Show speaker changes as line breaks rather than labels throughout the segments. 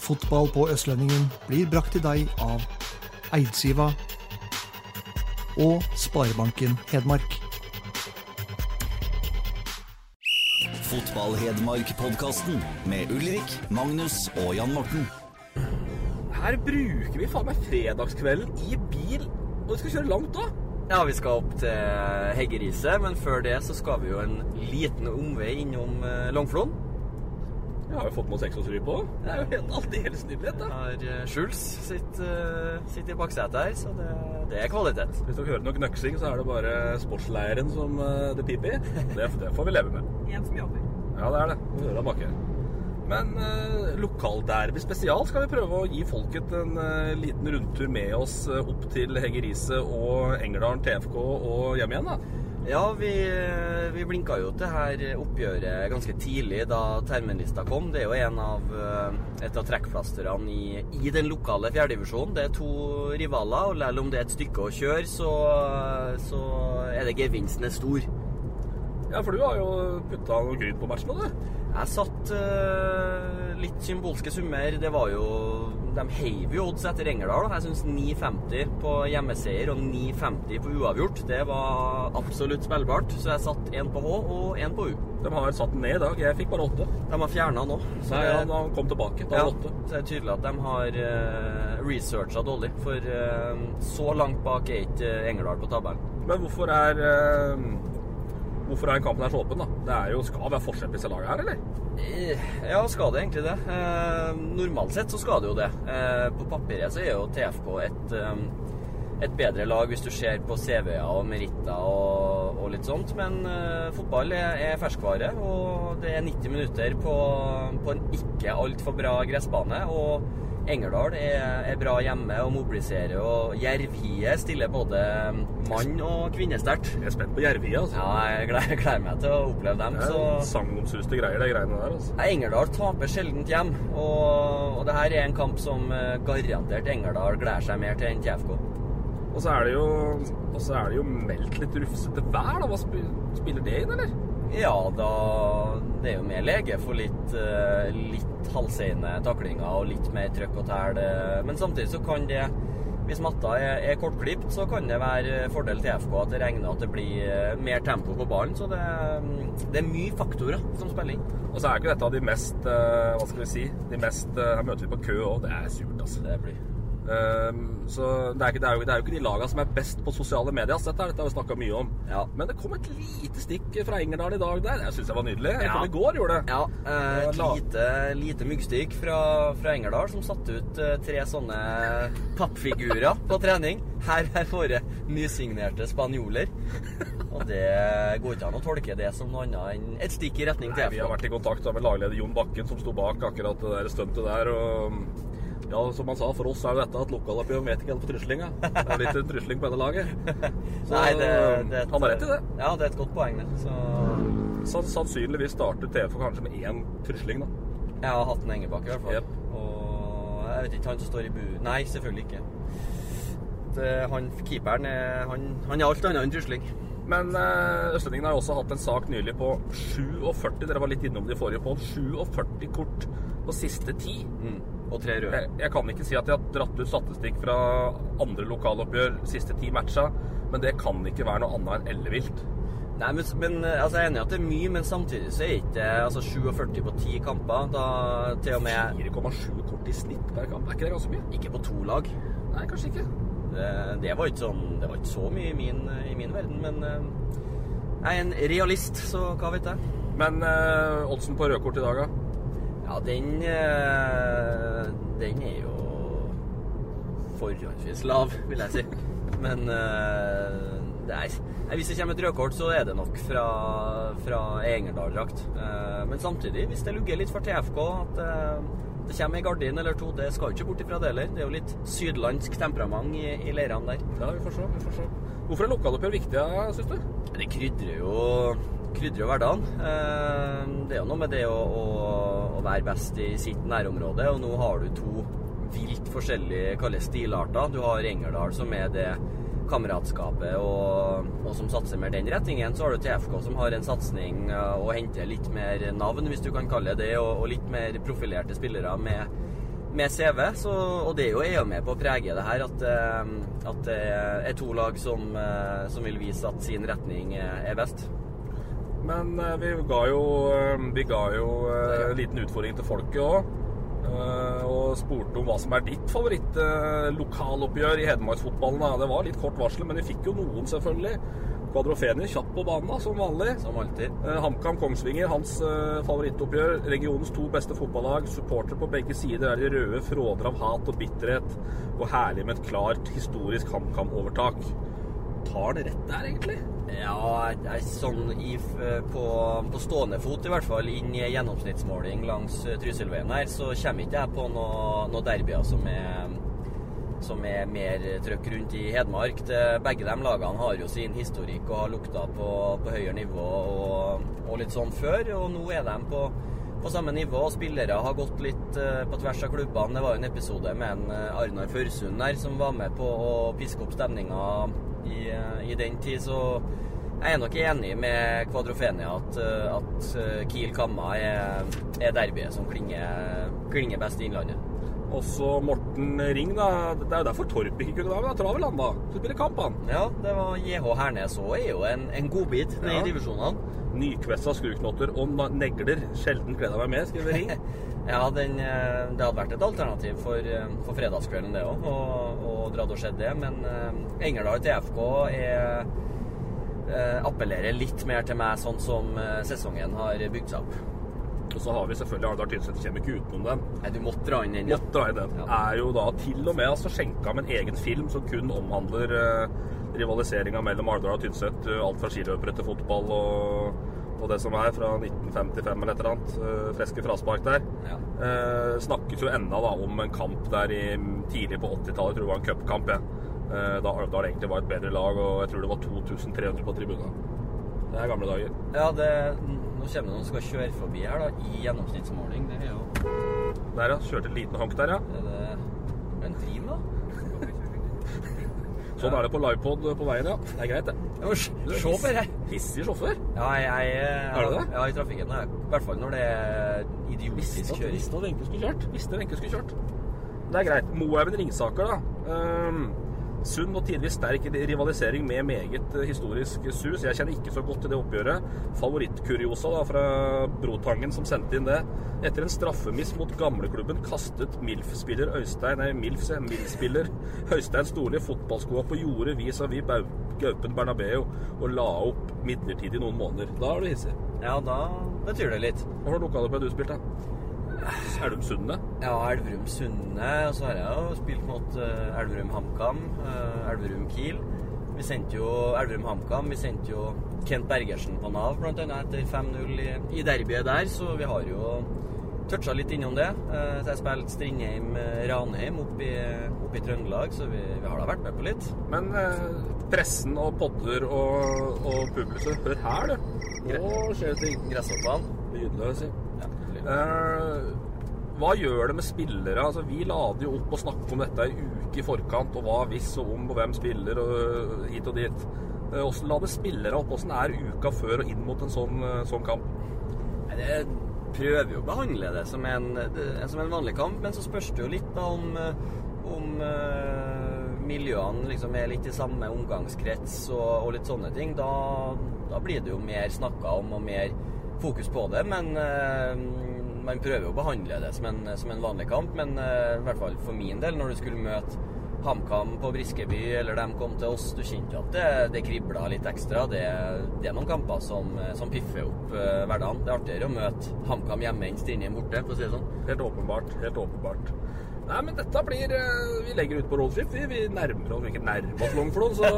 Fotball på Østlendingen blir brakt til deg av Eidsiva og Sparebanken Hedmark.
Fotball-Hedmark-podkasten med Ulrik, Magnus og Jan Morten.
Her bruker vi faen meg fredagskvelden i bil, og vi skal kjøre langt da.
Ja, vi skal opp til eh, Heggeriset, men før det så skal vi jo en liten omvei innom eh, Langflon.
Jeg har jo fått med oss eksosry på. Det er jo helt aldeles nydelig. dette.
Har eh, Schulz sitt, eh, sitt i baksetet her, så det, det er kvalitet.
Hvis dere hører noe knøksing, så er det bare sportsleiren som eh, det piper i. Det, det får vi leve med. Ja, det er det. Vi hører av bakke. Men eh, lokalderby spesial skal vi prøve å gi folket en eh, liten rundtur med oss eh, opp til Heggeriset og Engerdalen TFK og hjem igjen, da.
Ja, vi, eh, vi blinka jo til her oppgjøret ganske tidlig da terminlista kom. Det er jo en av, eh, et av trekkplasterne i, i den lokale fjerdedivisjonen. Det er to rivaler, og selv om det er et stykke å kjøre, så, eh, så er det gevinsten er stor.
Ja, for du har jo putta noe gryt på matchen nå, du.
Jeg satt eh, litt symbolske summer. Det var jo De heiv jo odds etter Engerdal. da. Jeg syns 9,50 på hjemmeseier og 9,50 på uavgjort, det var absolutt spillbart. Så jeg satt én på H og én på U.
De har satt den ned i dag. Jeg fikk bare åtte.
De har fjerna nå. Så
Nei,
det-
han, han kom tilbake. Da
ja,
var det åtte.
så det er tydelig at de har uh, researcha dårlig. For eh, så langt bak er ikke eh, Engerdal på tabellen.
Men hvorfor er eh, Hvorfor er kampen her så åpen, da? Det er jo, skal være forskjell på disse lagene her, eller?
Ja, skal det egentlig det? Eh, normalt sett så skal det jo det. Eh, på papiret så er jo TFK et, eh, et bedre lag hvis du ser på CV-er og meritter og, og litt sånt, men eh, fotball er, er ferskvare, og det er 90 minutter på, på en ikke altfor bra gressbane. og Engerdal er, er bra hjemme og mobiliserer, og Jervie stiller både mann- og kvinnesterkt.
Jeg er spent på Jervia, altså.
Ja, jeg gleder, gleder meg til å oppleve dem.
Det er
så...
sagnomsuste greier, de greiene der. altså.
Nei, Engerdal taper sjeldent hjem, og, og det her er en kamp som eh, garantert Engerdal gleder seg mer til enn TFK.
Og så er det jo Og så er det jo meldt litt rufsete vær, da. Hva sp- spiller det inn, eller?
Ja, da det er jo mer lege for litt, eh, litt halvseine taklinger og litt mer trøkk og tæl. eh, Men samtidig så kan det, hvis matta er, er kortklipt, så kan det være eh, fordel TFK at det regner at det blir eh, mer tempo på ballen. Så det, mm, det er mye faktorer som spiller inn.
Og så er ikke dette av de mest eh, Hva skal vi si? De mest eh, Her møter vi på kø òg. Det er surt, altså.
Det blir
Ehm, så det er, ikke, det, er jo, det er jo ikke de lagene som er best på sosiale medier. ass. Dette, er- dette har vi snakka mye om.
Ja.
Men det kom et lite stikk fra Engerdal i dag der. Jeg syns jeg var nydelig. Jeg
Ja.
tror det går gjorde det.
Ja, eh,
Det
et
var la-
lite, lite myggstikk fra, fra Engerdal som satte ut eh, tre sånne pappfigurer på trening. Her er våre nysignerte spanjoler. Og det går ikke an å tolke det som noe annet enn et stikk i retning
Nei,
til
Vi har
FK.
vært i kontakt da med lagleder Jon Bakken, som sto bak akkurat det der stuntet der. Og ja, som han sa, for oss er jo dette at lokalappgjøret vet ikke helt på truslinga. Det er litt trusling på dette laget. Så
Nei, det- det er et-
han har rett i det.
Ja, det er et godt poeng, det. Så
Så sannsynligvis starter TFK kanskje med én trusling, da.
jeg har hatt en Engebakk i hvert fall.
Jep.
Og jeg vet ikke han som står i bu... Nei, selvfølgelig ikke. Det, han, keeperen er, han, han er alt annet enn trusling.
Men eh, Østlendingen har jo også hatt en sak nylig på 47 Dere var litt innom det i forrige podd. 47 kort på siste ti.
Mm. Og tre røde.
Jeg, jeg kan ikke si at de har dratt ut statistikk fra andre lokaloppgjør siste ti matcha, men det kan ikke være noe annet enn ellevilt.
Nei, men, men altså, Jeg er enig i at det er mye, men samtidig så er ikke det altså, 47 på 10 kamper. Da til og med
4,7 kort i snitt per kamp. Er ikke det ganske mye?
ikke på to lag.
Nei, kanskje ikke.
Det, det var ikke sånn, det var ikke så mye i min, i min verden, men eh, jeg er en realist, så hva vet jeg.
Men eh, oddsen på rødkort i dag, da?
Ja, den eh, Den er jo forholdsvis lav, vil jeg si. Men eh, nei, nei, hvis det kommer et rødkort, så er det nok fra, fra Engerdal-drakt. Eh, men samtidig, hvis det lugger litt for TFK at eh, Det kommer ei gardin eller to, det skal jo ikke bort ifra det heller. Det er jo litt sydlandsk temperament i, i leirene der.
Ja, vi får se. vi får se. Hvorfor er lokaloppgjør viktig, syns du?
Det krydrer jo krydrer jo hverdagen. Eh, Det er jo noe med det å, å, å være best i sitt nærområde, og nå har du to vilt forskjellige kalles stilarter. Du har Engerdal, som er det kameratskapet og, og som satser mer den retningen. Så har du TFK, som har en satsing eh, og henter litt mer navn, hvis du kan kalle det det, og, og litt mer profilerte spillere med med CV, så, og det er jo jeg er med på å prege det her, at, eh, at det er to lag som, eh, som vil vise at sin retning eh, er best.
Men eh, vi ga jo, eh, vi ga jo eh, en liten utfordring til folket òg. Og spurte om hva som er ditt favoritt-lokaloppgjør i hedmarksfotballen. da. Det var litt kort varsel, men vi fikk jo noen, selvfølgelig. Kvadrofeni kjapt på banen, da, som vanlig.
Som alltid.
Eh, HamKam Kongsvinger, hans eh, favorittoppgjør. Regionens to beste fotballag. Supporter på begge sider er de røde, fråder av hat og bitterhet. Og herlig med et klart historisk HamKam-overtak. Tar det rett der, egentlig?
Ja, jeg er sånn i, f- på, på stående fot, i hvert fall inn i en gjennomsnittsmåling langs eh, Trysilveien her, så kommer ikke jeg på noen noe derbyer som er som er mer trøkk rundt i Hedmark. Det- Begge de lagene har jo sin historikk og har lukta på, på høyere nivå og, og litt sånn før. Og nå er de på, på samme nivå. og Spillere har gått litt eh, på tvers av klubbene. Det var jo en episode med en eh, Arnar Førsund der som var med på å piske opp stemninga i, eh, i den tid. Så jeg er nok enig med Kvadrofenia at, eh, at eh, Kiel Kamma er, er derbyet som klinger, klinger best i Innlandet.
Også Morten Ring, da. Det er jo derfor Torp ikke kunne være med. da. Travel han, da. Så spiller kamp, han.
Ja, det var JH Hernes òg er jo en, en godbit nede
Ja.
i divisjonene.
Nykvessa skruknotter og na- negler. Sjelden gleder jeg meg mer, skriver Ring.
Ja, den, eh, det hadde vært et alternativ for, eh, for fredagskvelden, det òg, og, og dratt og sett det. Men eh, Engerdal TFK er, eh, appellerer litt mer til meg, sånn som eh, sesongen har bygd seg opp.
Og så har vi selvfølgelig Arendal Tynset. Kommer ikke utenom den.
Nei, du måtte dra inn den. ja.
Måtte være den.
Ja.
Er jo da til og med altså, skjenka med en egen film som kun omhandler eh, rivaliseringa mellom Arendal og Tynset. eh, Alt fra skiløpere til fotball og, og det som er fra 1955 eller et eller annet. eh, Freske fraspark der.
Ja.
Eh, snakkes jo enda da om en kamp der i, tidlig på 80-tallet, tror jeg det var en cupkamp, jeg. Eh, da Arendal egentlig var et bedre lag, og jeg tror det var 2300 på tribunen. Det er gamle dager.
Ja, det, nå kommer det noen som skal kjøre forbi her, da, i gjennomsnittsmåling. Det er jo
Der, ja. Kjørte en liten hank der, ja.
er det en dream, da.
Sånn er det på livepod på veien, ja. Det er greit, det.
Ja, men sj- Se på det!
Hissig sjåfør.
Ja, jeg, jeg, eh,
Er det det?
Ja, i trafikken. ja. I hvert fall når det er idiotisk
Visste at-
kjøring.
Visste at Wenche skulle kjørt. Visste Wenche skulle kjørt. Det er greit. Moelven Ringsaker, da. Ehm, sunn og tidvis sterk rivalisering med meget eh, historisk sus. Jeg kjenner ikke så godt til det oppgjøret. Favorittkuriosa da, fra Brotangen som sendte inn det. Etter en straffemiss mot gamleklubben kastet MILF-spiller Øystein Nei, MILF, sier jeg. MILF-spiller Øystein Storli fotballskoa på jordet vis-à-vis Bau- Gaupen Bernabeu og la opp midlertidig noen måneder. Da er du hissig.
Ja, da betyr det litt.
Hva slags lokale ble du spilt, da? Elvum Sunde?
Ja, Elverum Sunne, og så har jeg jo spilt mot eh, Elverum HamKam, eh, Elverum Kiel. Vi sendte jo Elverum HamKam, vi sendte jo Kent Bergersen på Nav, blant annet, etter 5-0 i, i derbyet der, så vi har jo toucha litt innom det. Eh, Så jeg spilte Strindheim-Ranheim oppe i, opp i Trøndelag, så vi, vi har da vært med på litt.
Men eh, pressen og podder og, og publikum Hør her, du. Nå skjer det ting.
Gresshoppene.
Lydløs, ja.
Ja,
Eh, hva gjør det med spillere? Altså, vi lader jo opp og snakker om dette en uke i forkant, og hva hvis og om, og hvem spiller, og hit og dit. Eh, Hvordan lader spillere opp? Hvordan er uka før og inn mot en sånn, eh, sånn kamp?
Nei, Jeg prøver jo å behandle det som en, det- som en vanlig kamp, men så spørs det jo litt da om, eh, om eh, miljøene liksom er litt i samme omgangskrets og, og litt sånne ting. Da, da blir det jo mer snakka om og mer fokus på det, men eh, man prøver jo å behandle det som en, som en vanlig kamp. Men eh, i hvert fall for min del, når du skulle møte HamKam på Briskeby, eller de kom til oss, du kjente jo at det, det kribla litt ekstra. Det, det er noen kamper som, som piffer opp eh, hverdagen. Det er artigere å møte HamKam hjemme enn Strindheim borte, for å si det sånn.
Helt åpenbart. Helt åpenbart. Nei, men dette blir eh, Vi legger ut på roadtrip. Vi, vi nærmer oss ikke nærmer oss Longflon, så,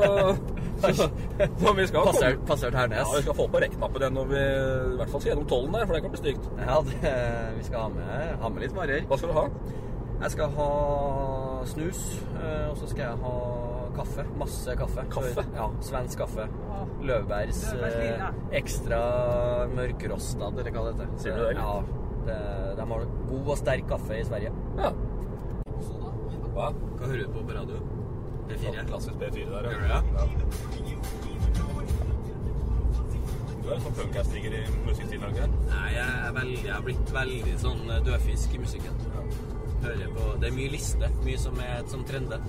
så, så vi skal
Passer,
komme-
passer
Ja,
Hernes.
vi skal få på rekknappen igjen når vi I hvert fall skal gjennom tollen der, for det kan bli stygt.
Ja, det, vi skal ha med, ha med litt marrer.
Hva skal du ha?
Jeg skal ha snus, eh, og så skal jeg ha kaffe. Masse kaffe.
Kaffe?
Ja, svensk kaffe. Løvbærs
Løvbærsvin,
eh, ekstra mørkrostad, eller hva det heter.
Sier du det, eller?
Ja, det, de har god og sterk kaffe i Sverige.
Ja. Hva?
Hva hører du på på radio? P4?
Klassisk B4 der,
Gjør du det?
ja. Du er sånn punkastinger i musikkstilen, ikke sant?
Nei, jeg, er veldig, jeg har blitt veldig sånn eh, dødfisk i musikken. Hører på, det er mye liste, mye som, er, sånn som trender.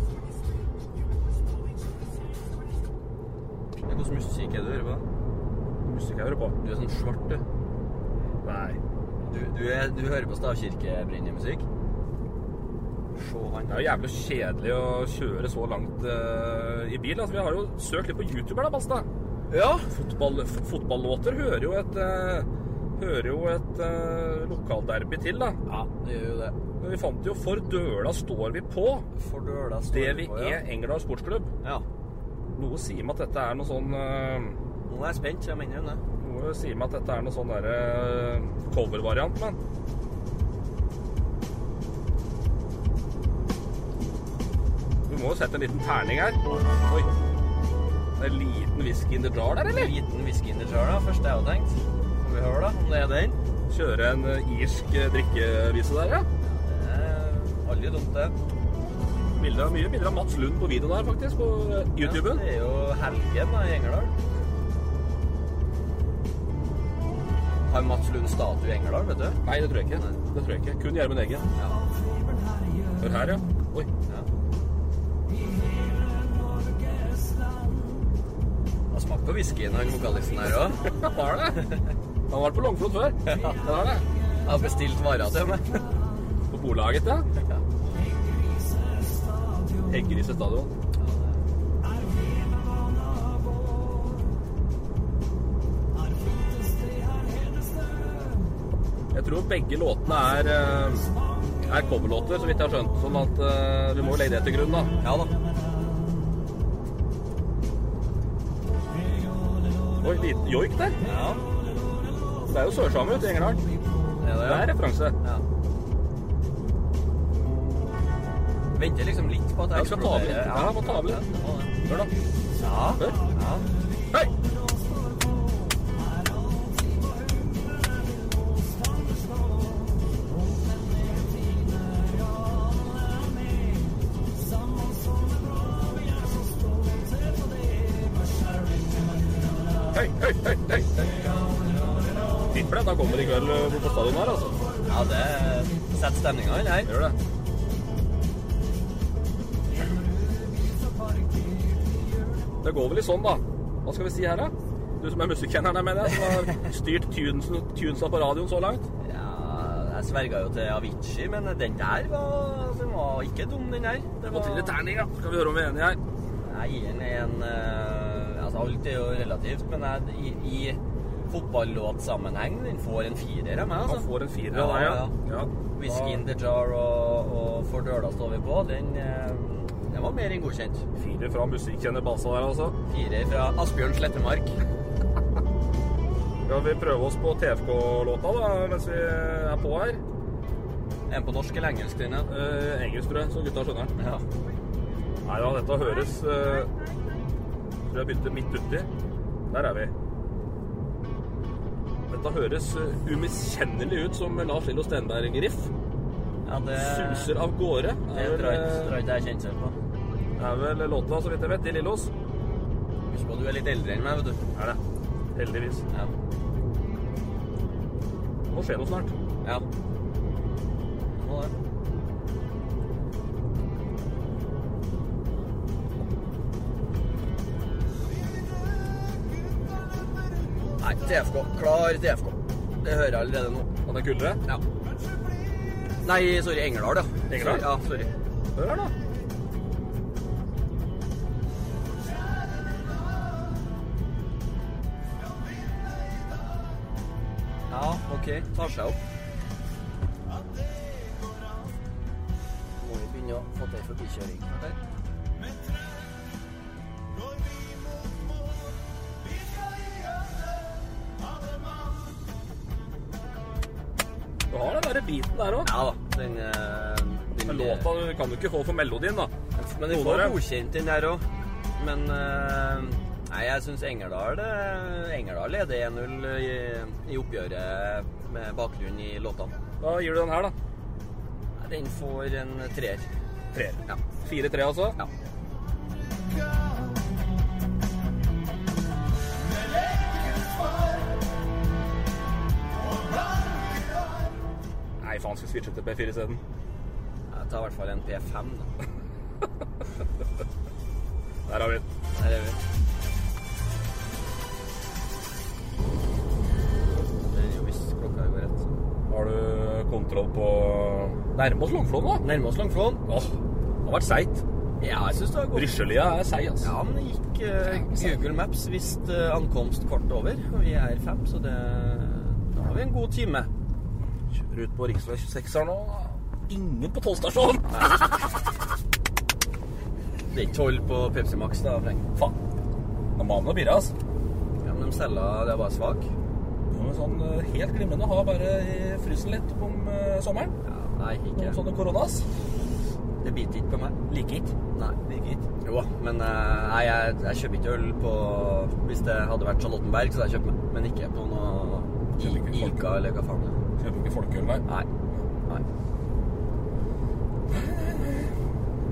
Hvilken musikk er det du hører på?
Musikk jeg hører på.
Du er sånn svart, du.
Nei.
Du, du, er, du hører på stavkirkebrennemusikk? Se han.
Det er jo jævlig kjedelig å kjøre så langt eh, i bil. Altså, vi har jo søkt litt på YouTube her, da, Balstad.
Ja.
Fotball, f- fotballåter hører jo et eh, Hører jo et eh, lokalderby til, da.
Ja, det gjør jo det.
Men vi fant jo For døla står vi på.
For døla står
Det
du
vi
på, ja.
er Engerdal sportsklubb.
Ja.
Noe sier meg at dette er noe sånn eh,
Nå er jeg spent, jeg mener det.
Noe sier meg at dette er noe sånn derre covervariant, men Du må jo sette en liten terning her. Oi. Det er en liten whisky in the jar der, eller?
Liten whisky in the jar, da. Først jeg har tenkt. Får vi høre, da, om det er den.
Kjøre en eh, irsk eh, drikkevise der, ja.
Det Eh, er aldri dumt, det.
Bilder, mye bilder av Mats Lund på video der, faktisk, på eh, YouTuben.
Ja, det er jo helgen da, i Engerdal. Har Mats Lund statue i Engerdal, vet du?
Nei, det tror jeg ikke. Det tror jeg ikke. Kun Gjermund Eggen.
Ja.
Hør her, ja. Oi.
ja. Han smakte på whiskyen, han vokalisten her òg.
Hva er det? Han har vært på Longflot før. Det er det.
Jeg har bestilt varer til meg.
På bolaget, ja. Heggrise stadion. Jeg tror begge låtene er, eh, er coverlåter, så vidt jeg har skjønt. Sånn at eh, vi må jo legge det til grunn, da.
Ja da.
Oi, liten joik der.
Ja,
Det er jo sørsame ute i Engerdal.
det
Det
er
er
det.
referanse.
Ja. Venter liksom litt på at jeg
Jeg skal ta av litt. Ja, jeg må ta av litt.
litt.
Hør, da.
Ja.
Hør.
ja.
Hei! Hei, hei, hei, hei! Tipper det at han kommer i kveld eh, på stadion her, altså.
Ja, det setter stemninga inn her.
Gjør det. Det går vel litt sånn, da. Hva skal vi si her, da? Du som er musikkenneren her, mener jeg, som har styrt tunes, tunesa på radioen så langt.
Ja, jeg sverga jo til Avicii, men den der var, den var ikke dum, den der. Det
Få til litt terning, da. Skal vi høre om vi er enige her.
Jeg gir den en eh, Altså, alt er jo relativt, men jeg, i, i fotballåtsammenheng den får en firer av meg,
Han
altså.
får en firer av deg, ja. ja.
Whisky in the jar og, og For døla står vi på. Den, eh, den var mer enn godkjent.
Fire fra musikkjenner Basa der, altså.
Firer fra Asbjørn Slettemark.
Skal vi prøve oss på TFK-låta, da, mens vi er på her?
En på norsk eller engelsk, den? ja?
Eh, engelsk, tror jeg, så gutta skjønner den.
Ja.
Nei da, dette høres eh, Tror jeg begynte midt uti. Der er vi. Dette høres eh, umiskjennelig ut som Lars Lillo Stenberg-riff.
ja det,
Suser av gårde.
Det
Er vel,
tror jeg
eh,
tror jeg ikke jeg kjenner selv på.
er vel låta, så vidt jeg vet, i Lillos.
Husk på at du er litt eldre enn meg, vet du.
Er det. Heldigvis.
Ja.
Det må skje noe snart.
ja. Må det. Nei, TFK. Klar TFK. Det hører jeg allerede nå.
Han er kulere.
Ja. Nei, sorry. Engerdal, ja.
Engerdal?
Ja, sorry.
Hør her, da.
Ja, OK. Tar seg opp.
Må
fått ei forbikjøring.
Du har den derre biten der òg.
Ja da. Den, eh, den
Men låta du kan du ikke få for melodien, da.
Men vi
Noen
får
av dem.
godkjent den der òg. Men eh, nei, jeg syns Engerdal eh, Engerdal leder 1-0 i, i oppgjøret med bakgrunn i låtene.
Da gir du den her, da.
Nei, Den får en treer.
Treer.
Ja.
4-3, altså.
Ja.
Nei, faen, skal switche til P4 isteden.
Jeg tar i hvert fall en P5, da.
Der har vi den.
Der er vi. Det er jo hvis klokka går rett.
Har du kontroll på Nærme oss Langflåen, da.
Nærmer oss Langflåen.
Åh, det har vært seigt.
Ja, jeg syns det har gått
Brysjelia er seig, altså.
Ja, men det gikk eh, Google Maps visst eh, ankomst kvart over, og vi er fem, så det, da har vi en god time.
Kjører ut på rv. 26 her nå. Ingen på tollstasjonen!
Det er ikke tolv på Pepsi Max, da, Frank.
Faen. Da må han jo birre, altså.
Ja, men de selger det er bare svak.
Det er jo sånn eh, helt glimrende å ha bare i frysen litt om eh, sommeren.
Ja, nei,
Noen
ikke.
sånne koronas.
Det biter ikke på meg.
Liker ikke.
Nei.
Liker ikke.
Jo, men eh, nei, jeg, jeg kjøper ikke øl på Hvis det hadde vært Charlottenberg, så hadde jeg kjøpt meg, men ikke på noe I-
Kjøper ikke folk.
Ica eller hva faen det er.
Kjøper ikke folkeøl, nei.
Nei. Nei.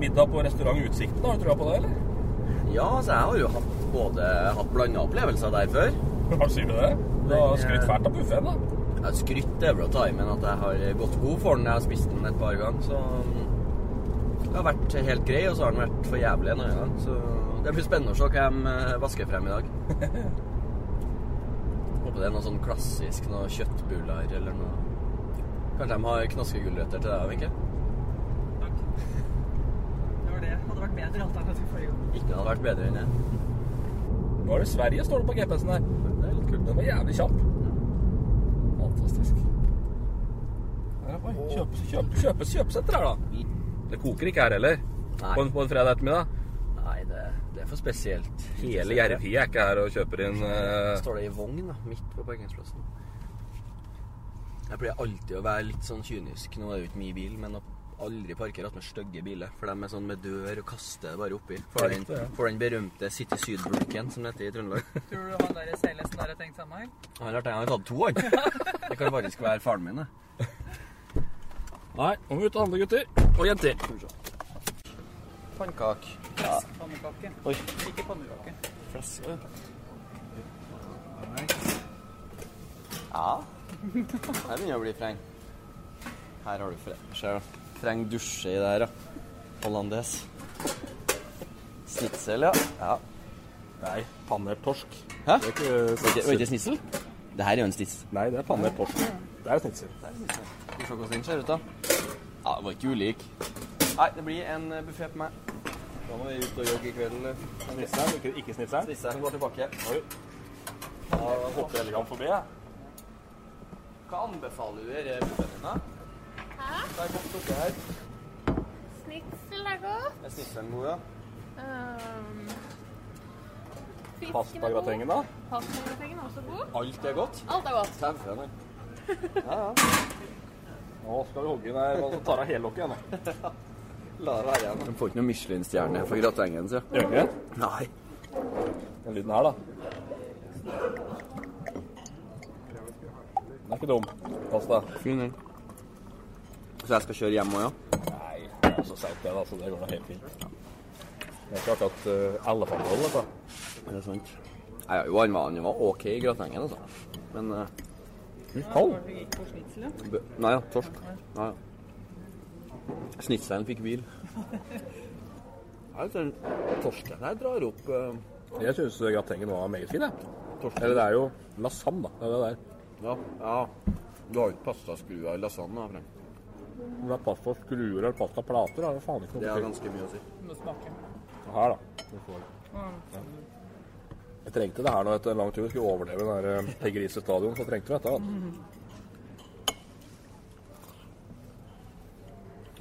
Middag på restaurant Utsikten, har du trua på det, eller?
Ja, så jeg har jo hatt både hatt blanda opplevelser der før.
Hva sier du det? Du har
Den,
skrytt
eh,
fælt av buffeen, da.
Jeg skrytt er vel å ta i, men at jeg har gått god for den. Jeg har spist den et par ganger, så mm, det har vært helt grei, og så har den vært for jævlig en annen gang. Så det blir spennende å se hva de eh, vasker frem i dag. Håper det er noe sånn klassisk, noe kjøttbuller eller noe Kanskje de har knaskegulrøtter til deg, Wenche?
Det var det. Hadde vært bedre alternativ forrige gang.
Ikke hadde vært bedre enn det.
Nå er det Sverige, står det på GPS-en her. Det er litt kult. Den var jævlig kjapp. Fantastisk. Der, oi, kjøp, kjøp, kjøpes kjøpesenter her, da. Det koker ikke her heller.
Nei.
På en, på en fredag ettermiddag.
Nei, det, det er for spesielt.
Hele Jervhiet er ikke her og kjøper inn eh,
står det i vogn da, midt på parkeringsplassen. Jeg pleier alltid å være litt sånn kynisk. Nå er det jo ikke min bil, men å aldri parkere attmed stygge biler. For de er sånn med dør og kaster det bare oppi. For den, for den berømte City Syd-bulken som det heter i Trøndelag.
Tror du han der i Seilesen der har tenkt samme her?
Han har tenkt- han har tatt to, han. Det kan faktisk være faren min, det.
Nei, nå må vi ut og handle, gutter. Og jenter.
Pannkak.
Pannekake.
Oi.
Ikke pannekake.
Fleske. Ja. Her begynner å bli freng. Her har du freng. Ser du. Freng dusje i det her, ja. Hollandes. Snitsel, ja. ja.
Nei, panert torsk. Det
Hæ?
er ikke
Var ikke, var ikke snitsel? Det her er jo en snits.
Nei, det er panert torsk. Det er snitsel.
Skal vi se hvordan den ser ut, da. Ja, det var ikke ulik. Nei, det blir en buffé på meg. Da må vi ut og jogge i kveld.
Snitsel, ikke, ikke snitsel.
Snitselen går tilbake.
Da hopper jeg elegant forbi, jeg.
Hva anbefaler du dere buffeen din, da? Hæ? Det er godt oppi her.
Snitsel er godt.
Er snitselen god, ja?
Um, fisken er god.
Pastagratengen, da.
Pastagratengen er også god.
Alt er godt.
Alt er godt.
Tauene.
Nå skal vi hogge inn her. og så tar av hellokket igjen, da.
Lara her igjen. De får ikke noen Michelin-stjerne for gratengen, sier jeg.
Gjør vi det?
Nei.
Den lyden her, da. Den er ikke dum. Pasta.
Fin den. Så jeg skal kjøre hjem òg, ja?
Nei, det er så seigt, det. Altså, det går da helt fint. Det er ikke akkurat uh, elefanthold, dette.
Er det sant? Nei, ja, jo, han var, han var OK i gratengen, altså. Men eh,
Kald?
Du gikk på snitsel, ja.
bø Nei ja, torsk. Nei, ja. Snitselen fikk hvil. Nei, den torsken her drar opp eh,
Jeg syns gratengen var meget fin, jeg.
torsken.
Eller det er jo lasagne, da. Det er det der.
Ja, ja. Du har jo ikke pastaskruer i lasagne, da, Frank.
Om det er pasta skruer eller pasta plater, har det faen ikke
Det
noe å
har
si.
ganske mye å si.
Du må smake.
Her, da. Du får. Ja. Jeg trengte det her nå etter en lang tur. Skulle overleve den der eh, Per Grise stadion, så Mm. trengte vi dette. da.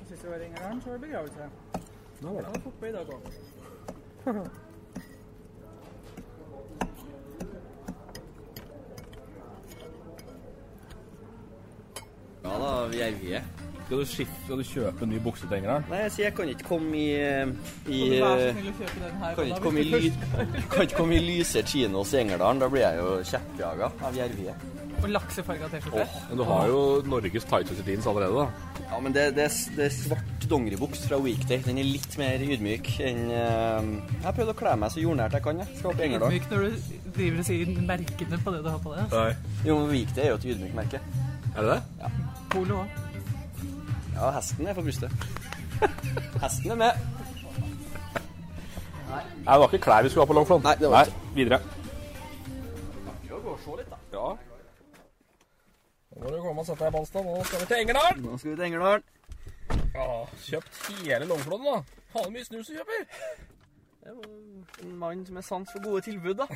sist vi var i Engerdalen, så var det begravelse.
Da var det.
Da var fotball i dag òg.
Ja da, vi er vide.
Skal du, skifte, skal du kjøpe nye bukser til Engerdal?
Nei, jeg sier jeg kan ikke komme i, eh, i
Kan du være så snill å kjøpe den her?
kan
Anna,
ikke komme i,
hvis du
ly, kan ikke komme i lyse chinos i Engerdalen. Da blir jeg jo kjeppjaga av jervie.
først- Og laksefarga T-skjorte.
Men du har jo Norges tighteste jeans allerede, da.
Ja, men det, det, er s- det er svart dongeribuks fra Weekday. Den er litt mer ydmyk enn eh, Jeg prøvde å kle meg så jordnært jeg kan. jeg. Skal opp i Engerdal.
Myk når du driver og sier merkene på det du har på deg.
Nei.
Jo, men Weekday er jo et ydmykt merke.
Er det det?
Polo òg.
Ja, hesten er for brystet. Hesten er med.
Nei, det var ikke klær vi skulle ha på Longflon.
Nei, det var
Nei, videre. Ja. Nå må du komme og sette deg i Balstad. Nå skal vi til Engerdal.
Nå skal vi til Engerdal.
Ja, kjøpt hele Longflon, da. Faen mye snus du kjøper.
Det var En mann med sans for gode tilbud, da.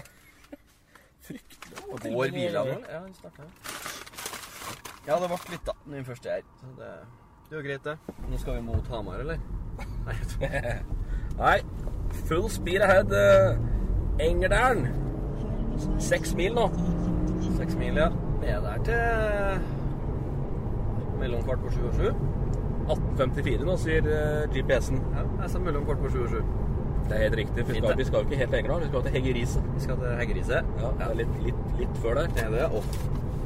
Fryktelig.
Går bilene nå? Ja, den starta. Ja, det ble litt, da, den første her. Så det, det er jo greit, det. Nå skal vi mot Hamar, eller? Nei, jeg tror
Nei, full speed ahead. eh, Engerdalen. Seks mil nå.
Seks mil, ja. Vi er der til mellom kvart på sju og sju.
1854 nå, sier eh, GPS-en.
Ja, jeg sa mellom kvart på sju og sju.
Det er helt riktig. for Vi
Fint,
skal,
det.
vi skal jo ikke helt til Engerdal, vi skal til Heggeriset.
Vi skal til Heggerise.
Ja, det er litt, litt, litt før der.
Er det opp?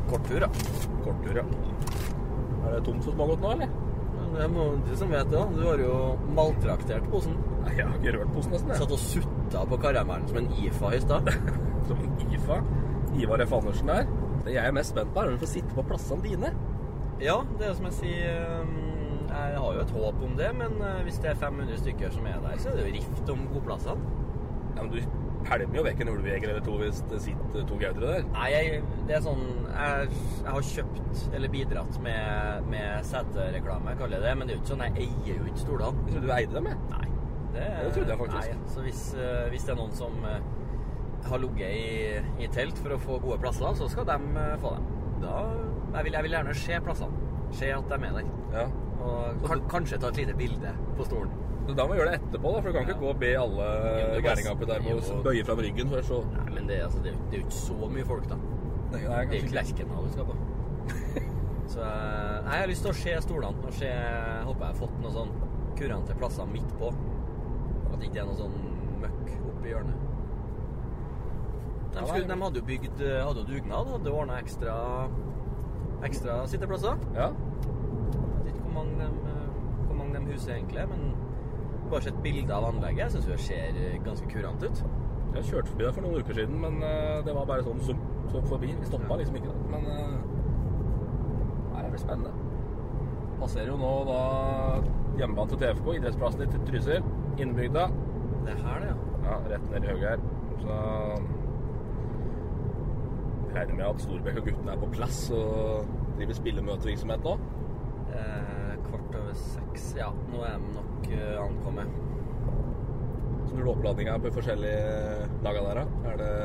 Kort tur, ja.
Kort tur, ja. Er det tomt for smågodt nå, eller?
Men Det er må- du som vet det, da. Du har jo maltraktert posen.
Nei, jeg har ikke rørt posen nesten. jeg.
Satt og sutta på karamellen som en IFA i stad.
Som IFA. Ivar F. Andersen der. Det jeg er mest spent på, er om vi får sitte på plassene dine.
Ja, det er jo som jeg sier um, Jeg har jo et håp om det, men uh, hvis det er 500 stykker som er der, så er det jo rift om godplassene.
Ja, men du pælmer jo vekk en ulvejeger eller to hvis det sitter to gautere der.
Nei, jeg, det er sånn jeg, jeg har kjøpt, eller bidratt med, med setereklame, jeg kaller det det, men det er jo ikke sånn, jeg eier jo ikke stolene.
Jeg trodde du eide dem, jeg.
Nei. Det,
Det trodde jeg faktisk.
Nei, så hvis, eh, hvis det er noen som eh, har ligget i, i telt for å få gode plasser, så skal de eh, få dem. Da, jeg, vil, jeg vil gjerne se plassene. Se at de er der.
Ja.
Og kan, kanskje ta et lite bilde på stolen.
Så Da må vi gjøre det etterpå, da, for du kan ikke
Ja.
gå og be alle
Jo, det er
gærningene oppi der med å
jo-
bøye fram ryggen før, så
Nei, men det, er- altså, det, er jo- det er jo ikke så mye folk, da.
Nei, nei,
Det er jo
kanskje ikke.
Klerkenhall du skal på. Så eh, nei, jeg har lyst til å se stolene og se Håper jeg har fått noe sånn kurante plasser midt på. At det ikke er noe sånn møkk oppi hjørnet. De, skulle, de hadde jo bygd eh, Hadde jo dugnad, hadde ordna ekstra Ekstra sitteplasser.
Ja.
Jeg vet ikke hvor mange de, eh, hvor mange de huser egentlig, er, men bare sett bilde av anlegget. Jeg syns det ser eh, ganske kurant ut.
Jeg kjørte forbi der for noen uker siden, men eh, det var bare sånn zoom, zoom forbi. Vi stoppa liksom ikke, da. Men eh, nei, det blir spennende. Passerer jo nå da hjemmebane til TFK, idrettsplassen i Trysil, innbygda.
Det er her, det, ja.
Ja, rett ned i høyre her. Så jeg regner med at Storbekk og guttene er på plass og driver spillemøtevirksomhet nå.
Eh, kvart over seks. Ja, nå er de nok eh, ankommet.
Så når du oppladninga på de forskjellige laga der, da? Er det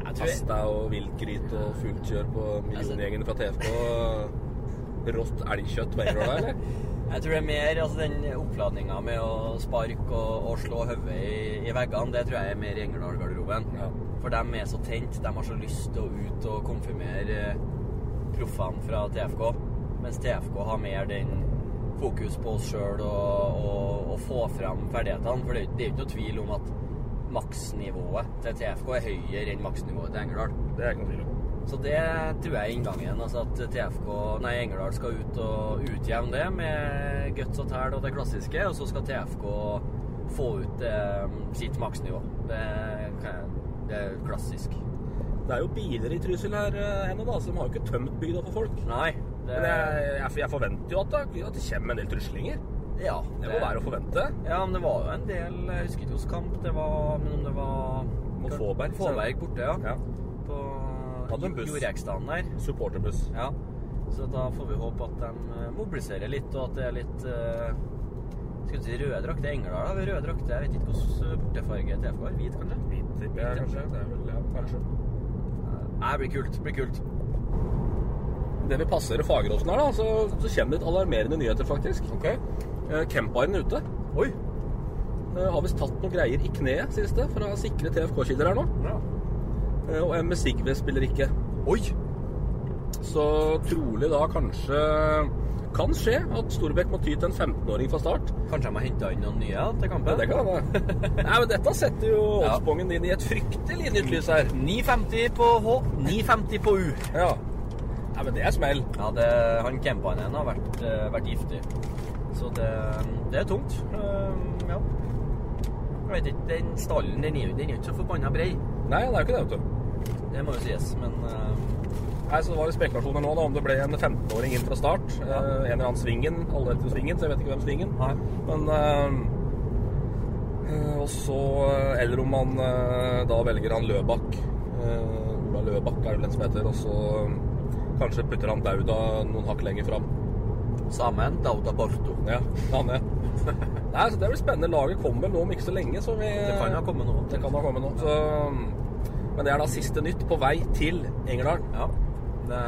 Jeg tror-
pasta og viltgryt og fullt kjør på milliongjengene fra TFK? og Rått elgkjøtt på Engerdal, eller?
Jeg tror det er mer altså den oppladninga med å sparke og, og slå hodet i, i veggene, det tror jeg er mer i Engerdal-garderoben.
Ja.
For de er så tent, de har så lyst til å ut og konfirmere eh, proffene fra TFK. Mens TFK har mer den fokus på oss sjøl og, og, og få fram ferdighetene. For det, det er jo ikke noe tvil om at maksnivået til TFK er høyere enn maksnivået til Engerdal.
Det er ikke noe tvil om.
Så det tror jeg er inngangen. Altså at TFK, nei, Engerdal skal ut og utjevne det med guts og tæl og det klassiske, og så skal TFK få ut eh, sitt maksnivå. Det, kan jeg- det er klassisk.
Det er jo biler i Trysil her eh, ennå, da, så de har jo ikke tømt bygda for folk.
Nei, det
Men jeg, jeg, jeg forventer jo at det, at det kommer en del tryslinger.
Ja,
Det må være å forvente.
Ja, men det var jo en del Jeg husker ikke hos Kamp, det var Men om det var
Mot Fåberg, så-
Fåberg borte, ja.
Ja.
På
Hadde en buss.
Jorekstaden der.
Supporterbuss.
Ja, så da får vi håpe at de eh, mobiliserer litt, og at det er litt eh, Skal vi si røde drakter? Engerdal har vi røde drakter. Jeg vet ikke hvilken bortefarge TFK har. Hvit, kanskje? Hvit,
Det er kanskje. Det er vel, ja, kanskje.
Nei, det blir kult. Det blir kult.
Idet vi passerer Fageråsen her, da, så, så kommer det litt alarmerende nyheter, faktisk. Okay. Camparen er ute. Oi. har visst tatt noen greier i kneet, sies det, fra sikre TFK-kilder her nå. Eh, og MS Sigve spiller ikke. Oi! Så trolig da kanskje kan skje at Storbekk må ty til en 15-åring fra start. Kanskje jeg må hente inn noen nye til kampen? Det kan hende. Nei, men dette setter jo oddsbongen din i et fryktelig nytt lys her. 9,50 på H, 9,50 på U. Ja. Nei, men det er smell.
Ja, det, han campaen igjen har vært, eh, vært giftig. Så det, det er tungt. Eh, ja. Jeg vet ikke, den stallen den er jo den er jo ikke så forbanna brei.
Nei, det er jo ikke det, vet
du. Det må jo sies, men eh,
Nei, så Det var jo spekulasjoner nå da, om det ble en 15-åring inn fra start. Eh, en eller annen Svingen. Alle heter jo Svingen, så jeg vet ikke hvem Svingen Men eh, eh, Og så eh, Eller om han eh, da velger han Løbakk. Eh, Ola Løbakk er vel den som heter. Og så eh, kanskje putter han Dauda noen hakk lenger fram. Sammen Dauda Borto. Ja, han er. Nei, så Det blir spennende. Laget kommer vel nå om ikke så lenge. Så vi,
Det kan ha kommet nå.
Det kan ha kommet nå. Så, men det er da siste nytt på vei til Engerdal.
Det,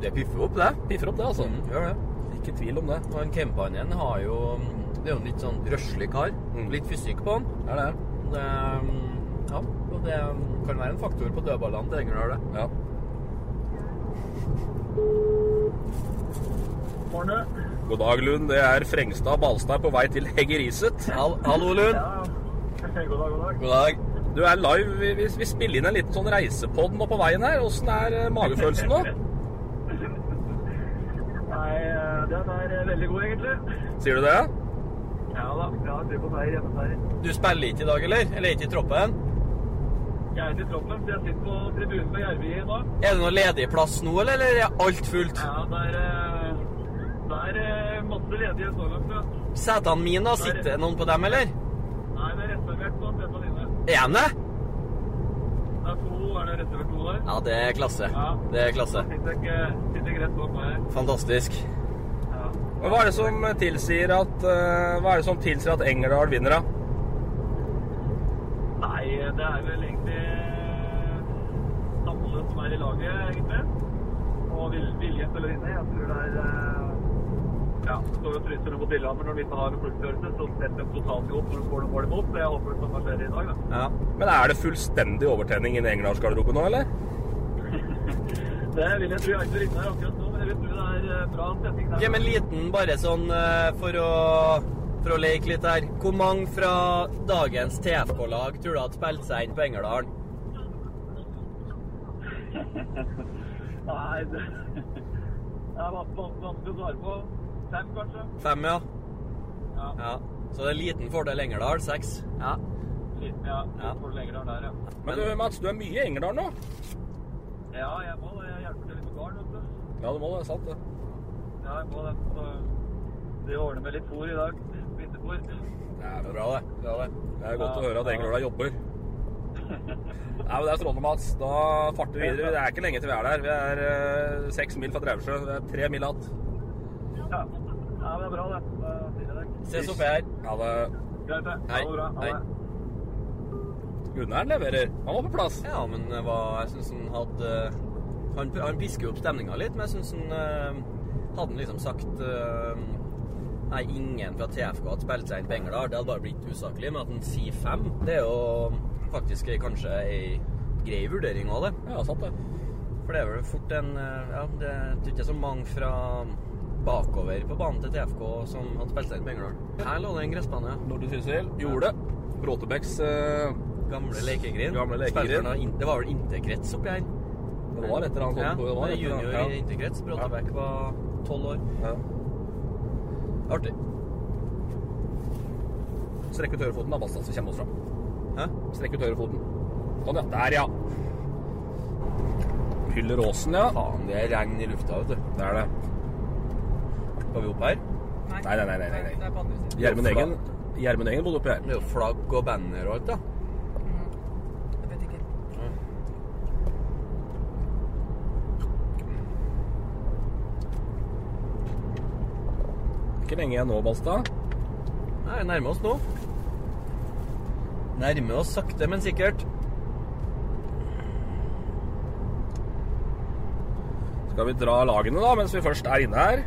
det piffer opp, det. Mm,
Piffer opp det, altså.
gjør det.
Ikke tvil om det.
Og en campaen igjen har jo Det er jo en litt sånn røslig kar. Litt fysikk på han.
Ja, det er
det. um, Ja, og det kan være en faktor på dødballene til Engerdal, det.
Ja. God dag, Lund. Det er Frengstad Balstad på vei til Heggeriset. Hallo, Lund.
God dag, god dag.
God dag. Du er live. Vi, vi, vi spiller inn en liten sånn reisepod nå på veien her. Åssen er eh, magefølelsen nå?
Nei, eh, den er eh, veldig god, egentlig.
Sier du det?
Ja da, jeg har tro på seier, hjemmeseier.
Du spiller ikke i dag, eller? Eller er ikke i troppen?
Jeg er til troppen, så jeg sitter på tribunen på Jervi i dag.
Er det noe ledig plass nå, eller er det alt fullt?
Ja, det er, eh, det er eh, masse ledige så langt, ja.
Setene mine, da? Sitter det noen på dem, eller?
Nei, det er reservert på Stefan Linne.
Er de det?
Det er to, er det reservert to der?
Ja, det er klasse. Det er klasse.
Sitter ikke, sitter ikke rett bak meg her.
Fantastisk.
Men Hva er det som tilsier at, eh, hva er det som tilsier at Engerdal vinner, da?
Nei, det er vel egentlig eh, alle som er i laget, egentlig. Og vil, viljen til å vinne. Jeg tror det er eh, Ja, det står og fryser mot Lillehammer når de ikke har en klubbstørrelse, så setter de totalt i opp når de får noe mål imot. Så jeg håper det samme skjer i dag, da.
Ja. Men er det fullstendig overtenning i Engerdalsgarderoben nå, eller?
Det vil jeg tro jeg ikke vinner akkurat nå, men jeg vil tro det er eh, bra setting der.
Gi meg en liten bare sånn eh, for å, for å leke litt her. Hvor mange fra dagens TFK-lag tror du hadde spilt seg inn på Engerdalen?
Nei, det, det er vans- vans- vanskelig å svare på. Fem, kanskje?
Fem, ja.
Ja.
ja. Så det er liten fordel Engerdal. Seks. Ja.
Litt, ja. Litt for lenger der, ja.
Men du, Mats, du er mye i Engerdal nå?
Ja, jeg må det. Jeg hjelper til litt med garn, vet du.
Ja, du må det. Sant, det.
Ja, jeg må det. Så de ordner med litt fôr i dag. Vinterfôr.
Det er bra, det. Det er, det. Det er godt å høre at Engerdal jobber. Nei, men Det er strålende, Mats. Da farter vi videre. Det er ikke lenge til vi er der. Vi er eh, seks mil fra Drauvsjø. Det er tre mil igjen.
Ja. ja, det er bra, det. Da sier jeg det.
Ses oppe her.
Ha det.
Greit, det. Ha
Hei.
det bra. Ha
Hei.
det.
Gunnar leverer. Han var på plass.
Ja, men det var, jeg syns han hadde eh, Han, han pisker jo opp stemninga litt, men jeg syns han eh, Hadde han liksom sagt eh, Nei, ingen fra TFK hadde spilt seg inn på Engerdal. Det hadde bare blitt usaklig. Men at han sier fem, det er jo faktisk eh, kanskje ei grei vurdering av det.
Ja, sant det.
For det er vel fort en eh, Ja, det jeg tror ikke det er så mange fra bakover på banen til TFK som hadde spilt seg inn på Engerdal. Her lå det en gressbane.
Nordre Trysil gjorde det. Bråtebæks eh,
Gamle lekegrin.
Gamle lekegrin.
Spilleren av in- Det var vel interkrets oppi her.
Det var et eller annet
Ja,
sånt. Det var et
det er
eller annet,
junior
ja.
i interkrets. Bråtebæk var tolv år.
Ja.
Artig.
Strekk ut høyrefoten, da, Bastad, så kommer vi oss fram.
Hæ?
Strekk ut høyrefoten. Sånn, ja. Der, ja. Hyller åsen, ja.
Faen, det er regn i lufta, vet du.
Det er det.
Skal vi opp her?
Nei,
Nei, nei, nei, nei, nei.
Det er på andre siden.
Gjermund
Flagg.
Engen, Gjermund Engen bodde oppi her.
Det er jo flagg og banner og alt, da.
Jeg vet ikke.
Ikke lenge igjen nå, Balstad.
Nei, nærmer oss nå. Nærmer oss sakte, men sikkert. Så
Skal vi dra lagene, da, mens vi først er inne her?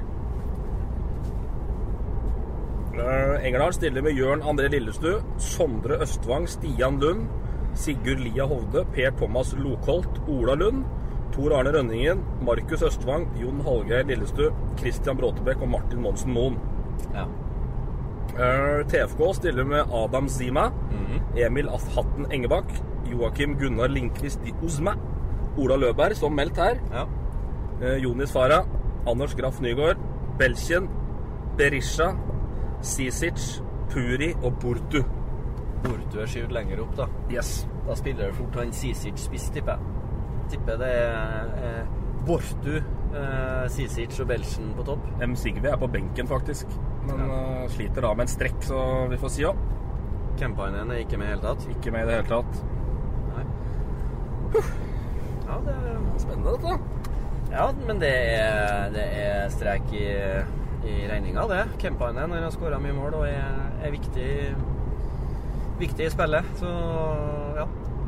Eh, Engerdal stiller med Jørn André Lillestu, Sondre Østvang, Stian Lund, Sigurd Lia Hovde, Per Thomas Lokholt, Ola Lund, Tor Arne Rønningen, Markus Østvang, Jon Hallgeir Lillestu, Christian Bråtebekk og Martin Monsen Moen. Eh, TFK stiller med Adam Zima,
Mhm.
Emil Afhatten Engebakk, Joakim Gunnar Lindqvist i Uzma, Ola Løberg, som meldt her, eh, Jonis Farah, Anders Graff Nygaard, Belkjen, Berisha, Sisic, Puri og Burtu.
Bortu er skyvd lenger opp, da.
Yes.
Da spiller det fort han Sisic spiss, tipper jeg. Tipper det er eh, Bortu, eh, Sisic og Belsen på topp.
M. Sigve er på benken, faktisk. Men eh, sliter da med en strekk, så vi får si ja.
Campaignen er ikke med i hele tatt.
Ikke med i det hele tatt.
Nei. Ja, det er
Spennende, dette.
Ja, men det er, det er strek i, i regninga, det. Kempainen har skåra mye mål og er, er viktig, viktig i spillet. Så ja,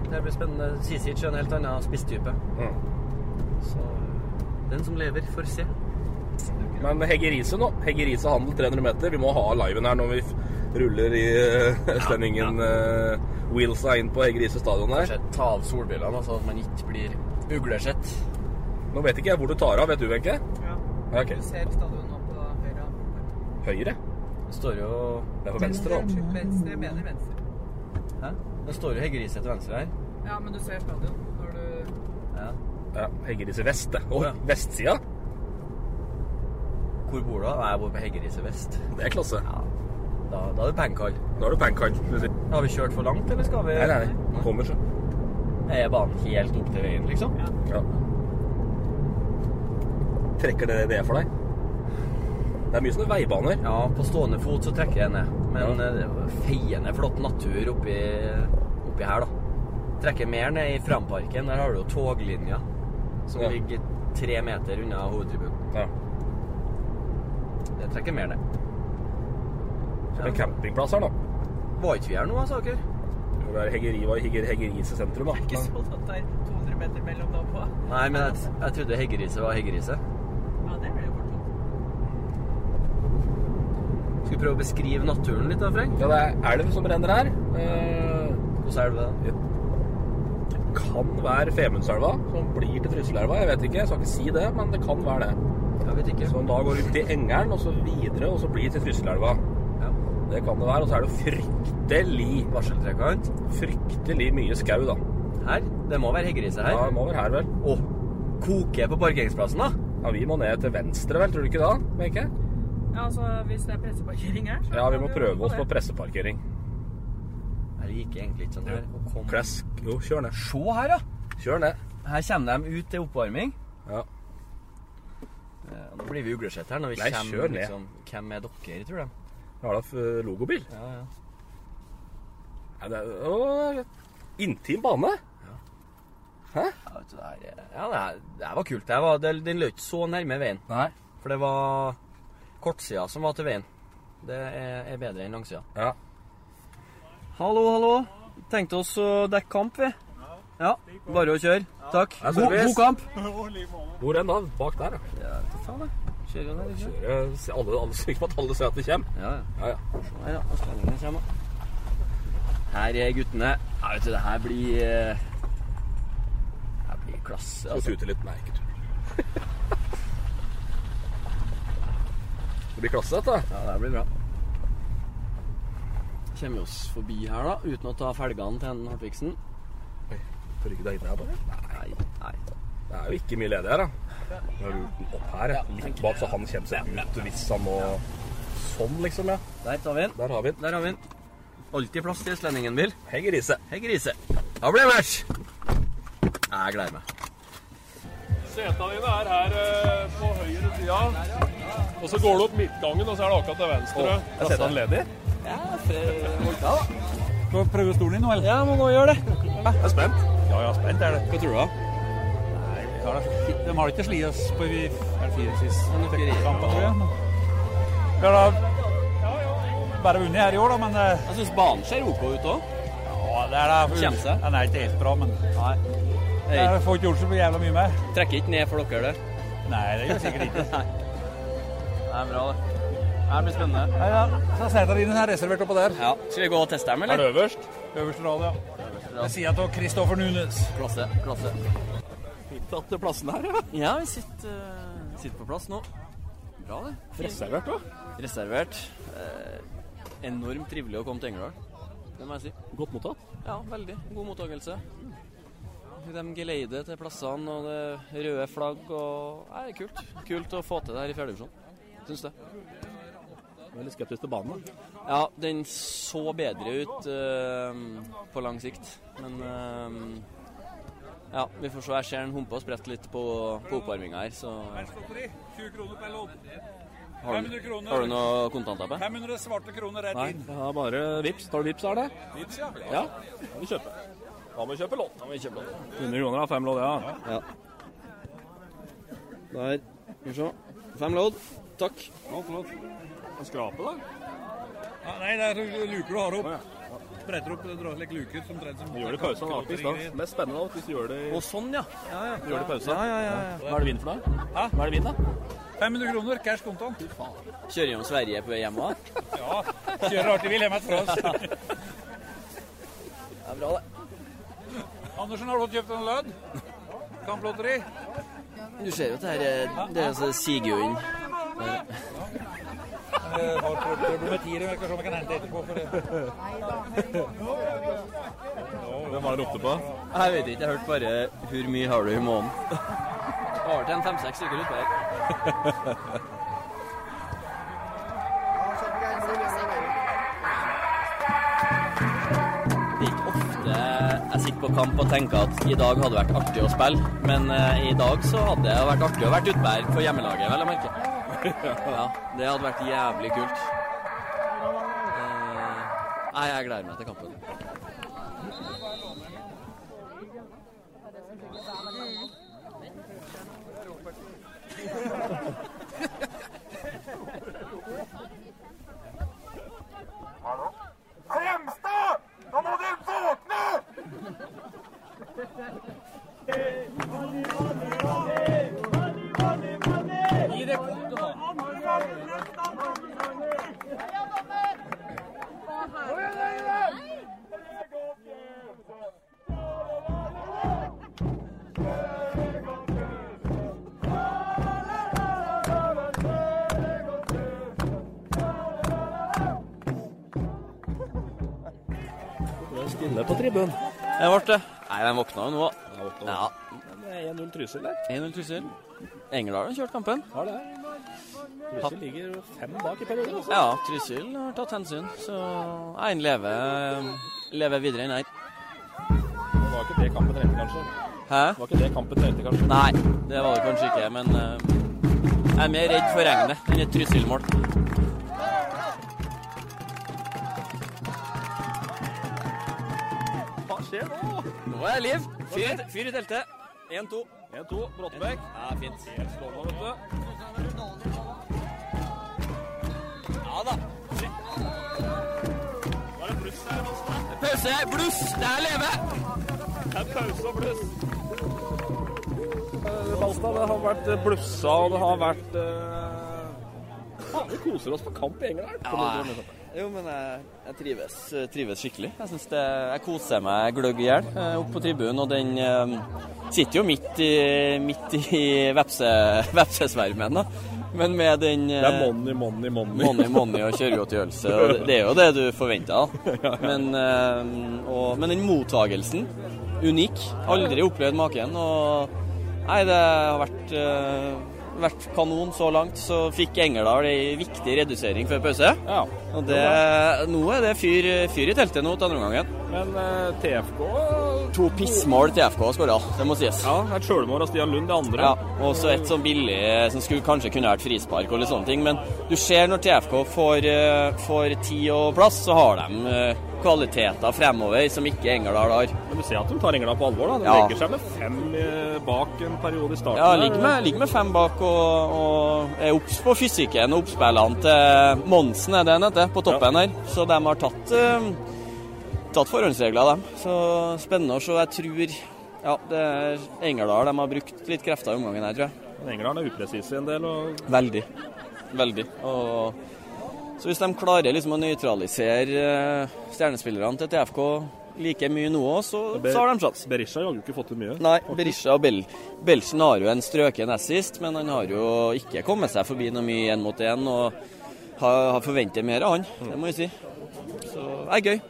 det blir spennende. Sisic er en helt annen spisstype.
Mm.
Så den som lever, får se.
Men Hegge Riise nå. Hegge Riise handel 300 meter. Vi må ha liven her når vi f- ruller i eh, Østlendingen eh, Wheelsa inn på Hegge Riise stadion her.
Kanskje ta av solbrillene, altså at man ikke blir uglesett.
Nå vet ikke jeg hvor du tar av, vet du, Wenche?
Ja.
Ja, ok.
Du ser stadion nå på høyre.
Høyre?
Det står jo
Det er på venstre, da.
Unnskyld, Venstre, jeg mener venstre.
Hæ? Det står jo Heggerise til venstre her.
Ja, men du ser stadion når du
Ja.
Ja, Hegge Riise vest, det. Å,
Ja.
vestsida?
Hvor bor du? da? Nei, Jeg bor på Heggerise vest.
Det er klasse.
Ja. Da, da er det pengekall.
Da er du pancard. skulle jeg si.
Har vi kjørt for langt, eller skal vi
Nei, nei, nei. Kommer, så.
Er banen helt opp til veien, liksom?
Ja. Trekker dere det for deg? Det er mye sånne veibaner.
Ja, på stående fot så trekker jeg ned. Men eh, det er jo feiende flott natur oppi, oppi her, da. Trekker mer ned i Framparken. Der har du jo toglinja, som
Ja.
ligger tre meter unna hovedtribunen.
Ja.
Det trekker mer ned.
Det er campingplass her, da.
Var ikke vi her nå, da, Saker?
Det er Heggeri var Hegger, Heggerise sentrum, da.
ikke så at det er 200 meter mellom nå på.
Nei, men jeg, jeg trodde Heggerise var Heggerise.
Ja, det blir jo fort gjort.
Skal vi prøve å beskrive naturen litt, da, Frank?
Ja, det er elv som renner her. Eh,
Hvordan er det da?
kan være Femundselva, som blir til Trysilelva. Jeg vet ikke, jeg skal ikke si det, men det kan være det.
Jeg vet ikke.
Som da går ut i Engeren, og så videre, og så blir til Trysilelva.
Ja.
Det kan det være. Og så er det jo fryktelig,
Varseltrekant.
fryktelig mye skau, da.
Her. Det må være Heggerise her.
Ja, det må være her, vel.
Å, koker på parkeringsplassen, da?
Ja, vi må ned til venstre, vel, tror du ikke da? Wenche?
Ja, altså, hvis det er presseparkering her, så
Ja, vi
kan
må
du
prøve
gå
oss på
det.
presseparkering.
Jeg liker egentlig ikke sånn her. Å komme-
Klask. Jo, kjør ned.
Se her, ja.
Kjør ned.
Her kommer de ut til oppvarming.
Ja.
Eh, Nå blir vi uglesett her når vi
Nei, kjør
kommer
ned.
liksom, Hvem er dere, tror de?
Vi har da f- logobil.
Ja, ja.
Ja, det er, å, intim bane.
Ja, vet du, det her, er- ja, det her, det her var kult. Det her var, det, den løy ikke så nærme veien.
Nei.
For det var kortsida som var til veien. Det er, er bedre enn langsida.
Ja.
Hallo, hallo. Tenkte oss å dekke kamp, vi. Ja. Bare å kjøre. Takk.
Ja,
God,
service.
god kamp.
Hvor enn da? Bak der, ja.
Kjører jo der, ikke sant?
Kjører, alle, alle, sikker på at alle ser at det kommer.
Ja, ja.
Ja, ja.
Her, ja. Østlendingene kommer. Her er guttene. Ja, vet du, det her blir eh, Det her blir klasse,
Og
altså.
tute litt. Nei, ikke tute. Det blir klasse, dette.
Ja, det her blir bra. Kommer vi oss forbi her, da, uten å ta felgene til en Hartvigsen?
Tør ikke deg inn her, bare.
Nei, nei.
Det er jo ikke mye ledig her, da. Vi har lurt den opp her, ja. litt bak, så han kommer seg ut hvis han må Sånn, liksom, ja.
Der tar vi den.
Der har vi den.
Der har vi den. Alltid plass til østlendingen, Bill.
Hei, grise.
Hei, grise. Da blir det match! Jeg gleder meg.
Seta dine er her eh, på høyre sida. Og så går du opp midtgangen, og så er det akkurat til venstre.
Jeg setter han ledig.
Ja, holdt av, da.
Skal vi prøve stolen din nå, eller?
Ja, må nå gjøre det.
Jeg er spent.
Ja, ja, spent er det.
Hva tror du, da?
De har ikke slitt oss på vi- er det fire siste
Han er fire i år.
kamper, tror jeg. men- Vi har da bare vunnet her i år, da, men eh,
Jeg syns banen ser OK ut òg.
ja, det er da
Kjem seg.
Den er ikke helt bra, men
Nei.
jeg får ikke gjort så jævla mye mer.
Trekker ikke ned for dere, det.
Nei, det gjør sikkert ikke.
Det er bra, det. Det blir spennende.
Nei, ja. Så setene dine er reservert oppå der.
Ja. Skal vi gå og teste dem, eller?
Er det øverst? Øverste rad, ja. Det sier jeg til Kristoffer Nunes.
Klasse, klasse.
Fint at det er plassen her, ja.
Ja, vi sitter, eh, sitter på plass nå. Bra, det.
Reservert, da?
Reservert. Eh, enormt trivelig å komme til Engerdal. Det må jeg si.
Godt mottatt?
Ja, veldig. God mottakelse. De geleider til plassene, og det er røde flagg og Nei, det er kult. Kult å få til det her i fjerdedivisjon. Syns det.
Jeg er litt skeptisk til banen. da.
Ja, den så bedre ut eh, på lang sikt, men eh, ja, vi får se. Jeg ser den humpa og spredt litt på, på oppvarminga her, så
Stotteri, 20 kroner per lodd.
har du,
500 kroner.
har du noe kontanter på?
500 svarte kroner rett
Nei,
inn.
det er bare vips. Tar du vips, er det?
Vips, ja.
Ja. Da må vi kjøpe. Da må vi kjøpe lån. 100 kroner av fem lån, ja.
Ja. Der. Skal vi se. Fem lodd. Takk.
Ja, flott. En skrape, da?
Ja, Nei, det er luker du har opp. Bretter opp, drar slik luker som trent som
Du gjør det i pausen. det er Artigst, da. Mest spennende da, hvis du gjør det i
Og sånn, ja. Ja, ja.
Du gjør det i pause.
Ja, ja, ja, ja.
Hva er det vinn for deg? Hva er det vinn, da?
500 kroner, cash kontant.
Kjører gjennom Sverige på vei hjem òg.
Ja, kjører artig bil hjemme etter oss.
Det er bra, det.
Andersen, har du fått kjøpt en lødd? Kamplotteri?
Du ser jo at det her er- det er så siger jo inn.
Eh, Har trøbbel med tiere, men jeg skal se om jeg kan hente etterpå. For det.
Hvem var det ropte på?
Jeg vet ikke. Jeg hørte bare 'Hvor mye har du i måneden?' Over til en fem-seks stykker utpå her. Det er ikke ofte jeg sitter på kamp og tenker at i dag hadde det vært artig å spille, men eh, i dag så hadde det vært artig å vært utpå her for hjemmelaget, vel å merke. Ja, det hadde vært jævlig kult. Eh, Nei, jeg gleder meg til kampen.
Fremstad! Nå må dere våkne!
Gi det kode, da.
Det er stille på tribunen.
Det ble det. Nei, den våkna jo nå. Ja.
Det er 1-0 Trysil der.
1-0 Trysil. Engerdal har kjørt kampen.
Har det. Trysil ligger fem bak i perioder, altså.
Ja, Trysil har tatt hensyn, så én lever, eh, lever videre enn her.
Det var ikke det kampen trengte, kanskje.
Hæ?
Det var ikke det kampen trengte, kanskje.
Nei, det var det kanskje ikke, men eh, jeg er mer redd for regnet enn et Trysil-mål.
Hva skjer nå?
Nå er det liv! Fyr, i- fyr i teltet. 1-2.
1-2, Bråttebekk.
Ja, fint.
Helt stående, vet du.
Ja da. Pause! Bluss! Det er leve!
Det er pause og bluss. Balstad, det har vært eh, blussa, og det har vært eh, Faen, vi koser oss på kamp i England. her.
Ja, jeg- jo, men jeg, jeg trives, trives skikkelig. Jeg, synes det, jeg koser meg gløgg i hjel eh, oppe på tribunen. Og den eh, sitter jo midt i, midt i vepse, vepsesvermen, da. Men med den eh,
Det er money, money, money.
Money, money og kjøregodtgjørelse. og Det, det er jo det du forventer. da. Men, eh, og, men den mottagelsen, unik. Aldri opplevd maken. Og nei, det har vært, eh, vært kanon så langt. Så fikk Engerdal ei viktig redusering før pause.
Ja.
Og det, nå er det fyr, fyr i teltet nå til andre omgangen.
Men eh, TFK
To pissmål til FK har skåra, det må sies.
Ja, et sjølmål av Stian Lund, det andre.
Ja, og så et sånn billig eh, som skulle kanskje kunne vært frispark og litt sånne ting. Men du ser når TFK får, eh, får tid og plass, så har de eh, kvaliteter fremover som ikke Engerdal har.
Men du ser at de tar England på alvor, da. De
Ja.
legger seg med fem eh, bak en periode i starten.
Ja,
der.
ligger med, ligger med fem bak og, og er obs på fysikken og oppspillene til Monsen, er det han heter, på toppen her. Så de har tatt, eh, tatt forhåndsregler, dem. Så spennende å se. Jeg tror ja, det er Engerdal de har brukt litt krefter i omgangen her, tror jeg.
Men Engerdal er upresise i en del. og...
Veldig. Veldig. Og så hvis de klarer liksom å nøytralisere eh, stjernespillerne til TFK like mye nå òg, så, så har de sjanse.
Berisha har jo ikke fått til mye.
Nei, Berisha og Bel Belsen har jo en strøken assist, men han har jo ikke kommet seg forbi noe mye én mot én. Og har, har forventer mer av han, det må jeg si. Så det er gøy.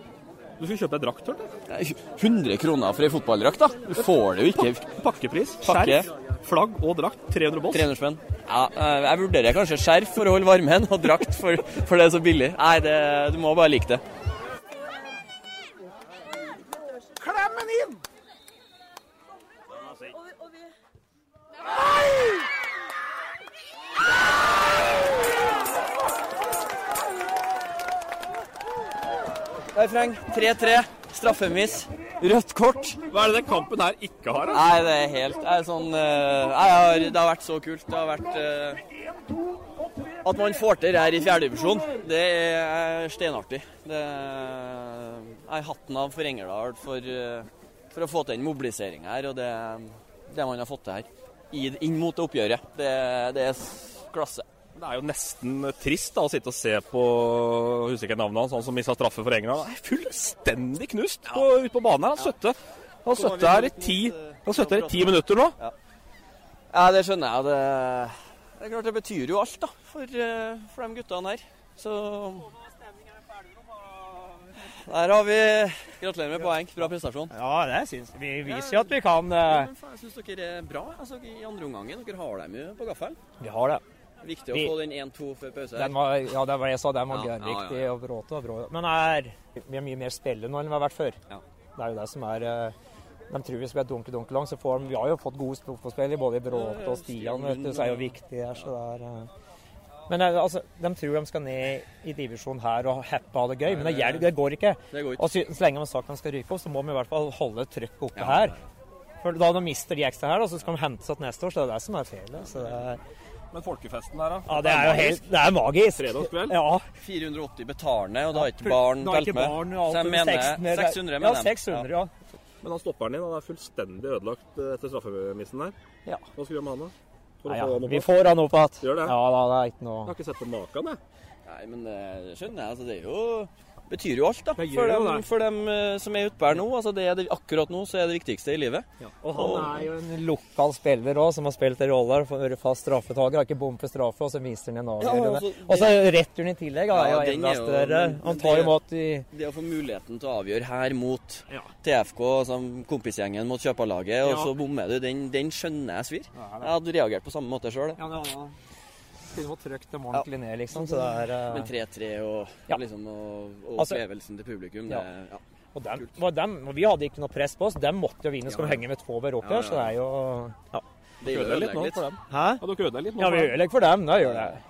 Du skulle kjøpe deg drakt, hørte jeg.
Det er 100 kroner for ei fotballdrakt, da. Du får det jo ikke.
Pakkepris,
Pakke.
skjerf, flagg og drakt. 300 bols.
300 spenn. Ja, eh, jeg vurderer kanskje skjerf for å holde varmen, og drakt for, for det er så billig. Nei, det, du må bare like det.
Klem den inn!
Der, Freng. 3-3. Straffemiss. Rødt kort.
Hva er det den kampen her ikke har?
Nei, det er helt det er sånn, eh, nei, jeg har, Det har vært så kult. Det har vært eh, At man får til det her i fjerdedivisjon, det er steinartig. Det er nei, hatten av for Engerdal for, eh, for å få til den mobiliseringa her, og det, det man har fått til her. I, inn mot det oppgjøret. Det, det er s- klasse.
Det er jo nesten trist da, å sitte og se på jeg husker ikke navnet hans, han som mista straffe for England. Han er fullstendig knust på, ute på banen her. Han søtte, han søtte her i ti,
eh,
han søtte her i ti minutter nå.
Ja, det skjønner jeg. Det, det er klart det betyr jo alt, da, for, eh, for de guttene her. Så Der har vi Gratulerer med poeng. Bra prestasjon.
Ja, det syns vi. viser jo at vi kan eh,
Jeg syns dere er bra altså, i andre omgangen. Dere har dem jo på gaffelen.
Vi har det.
Viktig å
Vi-
få den 1-2 før pause. her.
Den var, ja, det var jeg sa, den var
Ja, ja, ja,
gørrviktig og bråte og brå. Men er, vi er mye mer spillende nå enn vi har vært før. Det er jo det som er eh, De tror vi skal være dunke dunke lang, så får de Vi har jo fått gode sp- fotballspillere, både i Bråte og Stian, vet du, så er jo viktig her, så det er eh. men eh, altså, De tror de skal ned i divisjonen her og happe og ha det gøy, men det, gjør- det går ikke.
Det går ikke.
Og så, så lenge de har sagt de skal ryke opp, så må de i hvert fall holde trykket oppe her. For da de mister de ekstra her, da, så skal de hente seg til neste år, så det er det som er feilet. Så det er,
Men folkefesten her, da?
ja, det er jo helt Det er magisk.
Fredagskveld?
Ja.
480 betalende, og da har ikke barn
da har ikke
telt med.
barn, og alt
Så jeg
over
mener
600,
600,
ja,
mener jeg.
600, ja.
Men han stopperen din han er fullstendig ødelagt eh, etter straffemissen der.
Ja.
Hva skal vi gjøre med han, da? For å
Nei, ja.
få han opp
Vi
igjen?
får han opp igjen.
Gjør det?
Ja da, det er ikke
Jeg
noe
har ikke sett på maken, jeg.
Nei, men det skjønner jeg. Altså, det er jo betyr jo alt, da.
Det gjør
For
jo
dem,
det.
for dem eh, som er utpå her nå. Altså, det er det, akkurat nå så er det viktigste i livet.
Og han er jo en lokal spiller òg, som har spilt en rolle her. Vært fast straffetaker, har ikke bom for straffe, og så viser han en
Ja, og
avgjørende.
så-
og så returen i tillegg ja,
Ja,
er jo
den
enda
er jo-
større.
men- men
Han
det-
tar jo imot i
Det å få muligheten til å avgjøre her mot TFK, altså kompisgjengen mot kjøperlaget, og
Ja.
så bommer du, den, den skjønner jeg svir.
Ja, det er det.
Jeg hadde reagert på samme måte sjøl.
Ja, Skulle fått trykt dem ordentlig ned, liksom. Så det er eh,
Men 3-3 og,
Ja.
liksom, og, og
Altså-
opplevelsen til publikum,
Ja.
det ja.
Og, dem, var dem, og vi hadde ikke noe press på oss. Dem måtte jo vinne, skulle de henge med to hver opp
Ja,
her,
ja.
så det er jo ja.
Det
Dere ødelegger litt nå for dem.
Hæ?
Ja, dere ødelegger litt nå
Ja,
for
vi
dem.
ødelegger for dem. Det gjør det.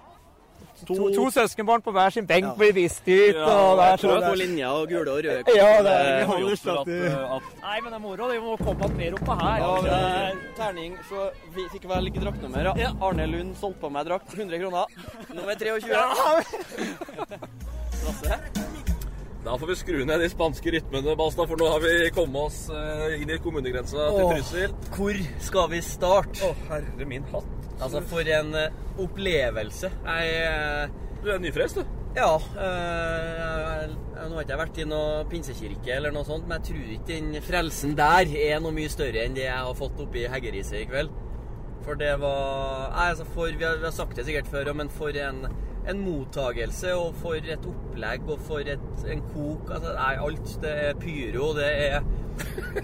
To, to søskenbarn på hver sin benk blir vist ut. og det er så
På linja og gule og røde.
Ja, det er,
Eh,
vi holder
at-
støtt Nei, men det er moro. Vi må komme oss mer opp på her.
Ja, men det er terning, så vi fikk vel ikke draktnummer. Ja. Arne Lund solgte på meg drakt. 100 kroner. Nummer 23. Klasse.
Da får vi skru ned de spanske rytmene, Balstad, for nå har vi kommet oss eh, inn i kommunegrensa til
Åh,
Trysil.
Hvor skal vi starte?
Å, herre min hatt.
Altså, for en eh, opplevelse. Jeg eh,
Du er nyfrelst, du.
Ja. eh, jeg- jeg- nå har ikke jeg vært i noe pinsekirke eller noe sånt, men jeg tror ikke den frelsen der er noe mye større enn det jeg har fått oppe i Heggeriset i kveld. For det var Nei, altså, for Vi har, vi har sagt det sikkert før, ja, men for en, en mottagelse og for et opplegg og for et, en kok altså, Nei, alt. Det er pyro, det er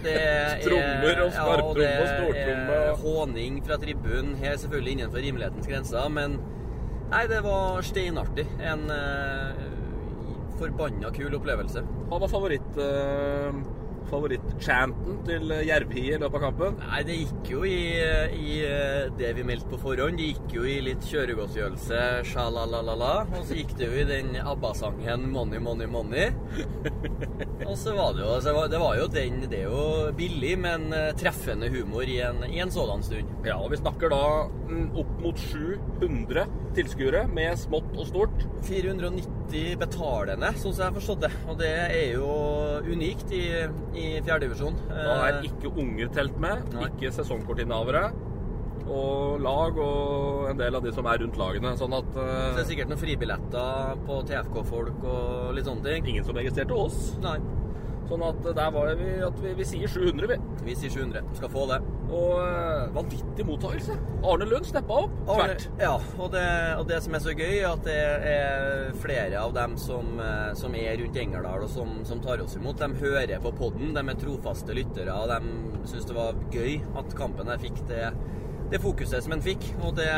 det er,
Trommer og
ja, og
skarptromme
det
og stortromme.
er Håning fra tribunen, her selvfølgelig innenfor rimelighetens grenser, men Nei, det var steinartig. En eh, forbanna kul opplevelse.
Hva var favoritt... eh, favorittchanten til Jervhi i løpet av kampen?
Nei, det gikk jo i, i eh, det vi meldte på forhånd. Det gikk jo i litt kjøregodtgjørelse, sjalalala. Og så gikk det jo i den ABBA-sangen 'Money, money, money'. Og så var det jo så var- Det var jo den Det er jo billig, men eh, treffende humor i en, i en sådan stund.
Ja, og vi snakker da mm, opp mot 700 tilskuere med smått og stort.
490 betalende, sånn som jeg har forstått det. Og det er jo unikt i, Eh, i fjerdedivisjon.
Eh. Da er ikke unger telt med, ikke sesongkortinnehavere. og lag og en del av de som er rundt lagene. Sånn at
Så det er sikkert noen fribilletter på TFK-folk og litt sånne ting.
Ingen som registrerte oss.
Nei.
Sånn at der var det vi at vi, vi sier 700, vi.
Vi sier 700. Skal få det.
Og eh, vanvittig mottakelse. Arne Lund steppa opp.
Arne-
Tvert.
Ja, og det, og det som er så gøy, er at det er flere av dem som, eh, som er rundt Engerdal og som, som tar oss imot. De hører på podden, de er trofaste lyttere, og de syns det var gøy at kampen her fikk det, det fokuset som den fikk. Og det,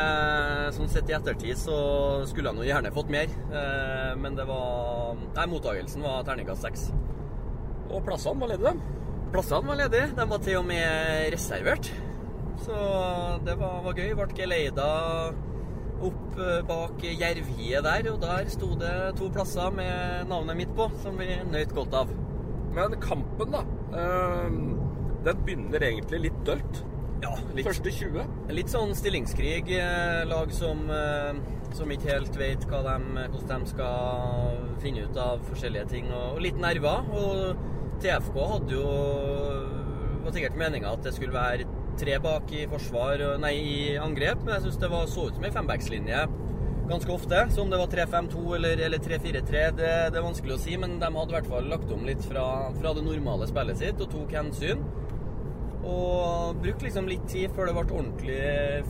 sånn sett i ettertid, så skulle han jo gjerne fått mer. Eh, Men det var Nei, mottagelsen var terningkast seks.
Og plassene var ledige, dem.
Plassene var ledige. De var til og med reservert. Så det var, var gøy. Ble geleida opp eh, bak Jervhiet der, og der sto det to plasser med navnet mitt på, som vi nøt godt av.
Men kampen, da. eh, den begynner egentlig litt dølt.
Ja, litt,
Første 20.
litt sånn stillingskrig. eh, Lag som, eh, som ikke helt vet hva de, hvordan de skal finne ut av forskjellige ting. Og, og litt nerver. Og TFK hadde jo eh, var sikkert meninga at det skulle være tre bak i forsvar, og- nei, i angrep. Men jeg syns det var, så ut som ei fembackslinje ganske ofte. Så om det var 3-5-2 eller, eller 3-4-3, det, det er vanskelig å si. Men de hadde i hvert fall lagt om litt fra, fra det normale spillet sitt og tok hensyn. Og brukte liksom litt tid før det ble ordentlig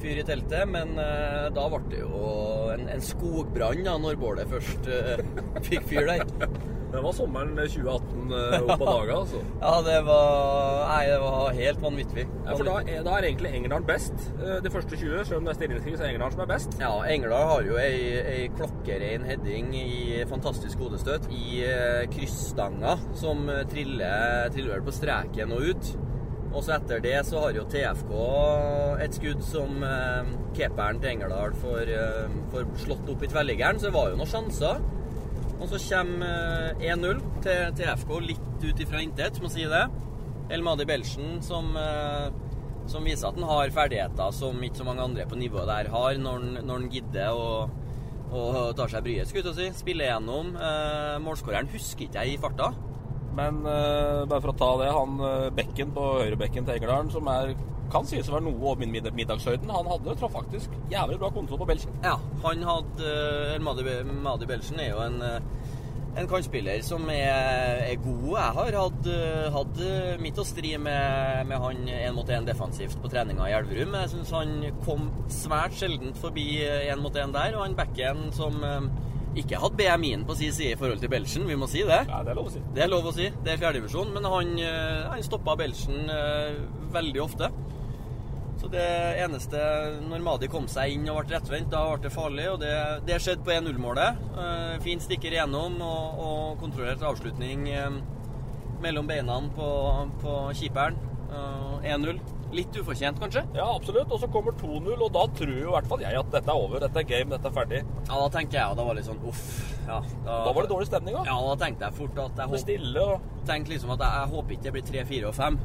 fyr i teltet, men eh, da ble det jo en, en skogbrann da, når bålet først eh, fikk fyr der.
Det var sommeren 2018 eh, opp av daga, altså.
Ja, det var Nei, det var helt vanvittig.
Ja, for da er, da er egentlig Engerdal best. eh, De første 20, selv om det er stillingskrig, så er Engerdal som er best.
Ja, Engerdal har jo ei, ei klokkerein heading i fantastisk hodestøt i eh, kryssstanga, som eh, triller, triller vel på streken og ut. Og så etter det så har jo TFK et skudd som eh, keeperen til Engerdal får, eh, får slått opp i tverrliggeren, så det var jo noen sjanser. Og så kommer eh, 1-0 til TFK litt ut ifra intet, må si det. El Madi Belsen som, eh, som viser at han har ferdigheter som ikke så mange andre på nivået der har, når han- når han gidder å og tar seg bryet, skulle jeg til å si. Spiller gjennom. Eh, målskåreren husker ikke jeg i farta.
Men eh, bare for å ta det, han eh, bekken på høyrebekken til Engerdalen, som er, kan sies å være noe over min mid- middagshøyden, han hadde traff faktisk jævlig bra kontroll på Belgien.
Ja, han hadde eh, El Madi, Madi Belsen er jo en, eh, en kantspiller som er, er god. Jeg har hatt, eh, hatt eh, mitt å stri med, med han én mot én defensivt på treninga i Elverum. Jeg syns han kom svært sjeldent forbi én mot én der, og han backen som eh, ikke hadde BMI-en på sin side i forhold til Belsen, vi må si det.
Ja, det er lov å si.
Det er lov å si. Det er fjerdedivisjon, men han, eh, han stoppa Belsen eh, veldig ofte. Så det eneste Når Madi kom seg inn og ble rettvendt, da ble det farlig. Og det, det skjedde på 1-0-målet. Eh, Fint stikker igjennom og, og kontrollert avslutning eh, mellom beina på, på keeperen. Eh, 1-0. Litt ufortjent, kanskje?
Ja, absolutt. Og så kommer 2-0, og da tror jo i hvert fall jeg at dette er over, dette er game, dette er ferdig.
Ja, da tenker jeg, og da var det litt sånn uff. Ja, da,
Da var det dårlig stemning, da.
Ja, da tenkte jeg fort at jeg
Det er stille og
tenkte liksom at jeg, jeg håper ikke det blir 3, 4 og 5.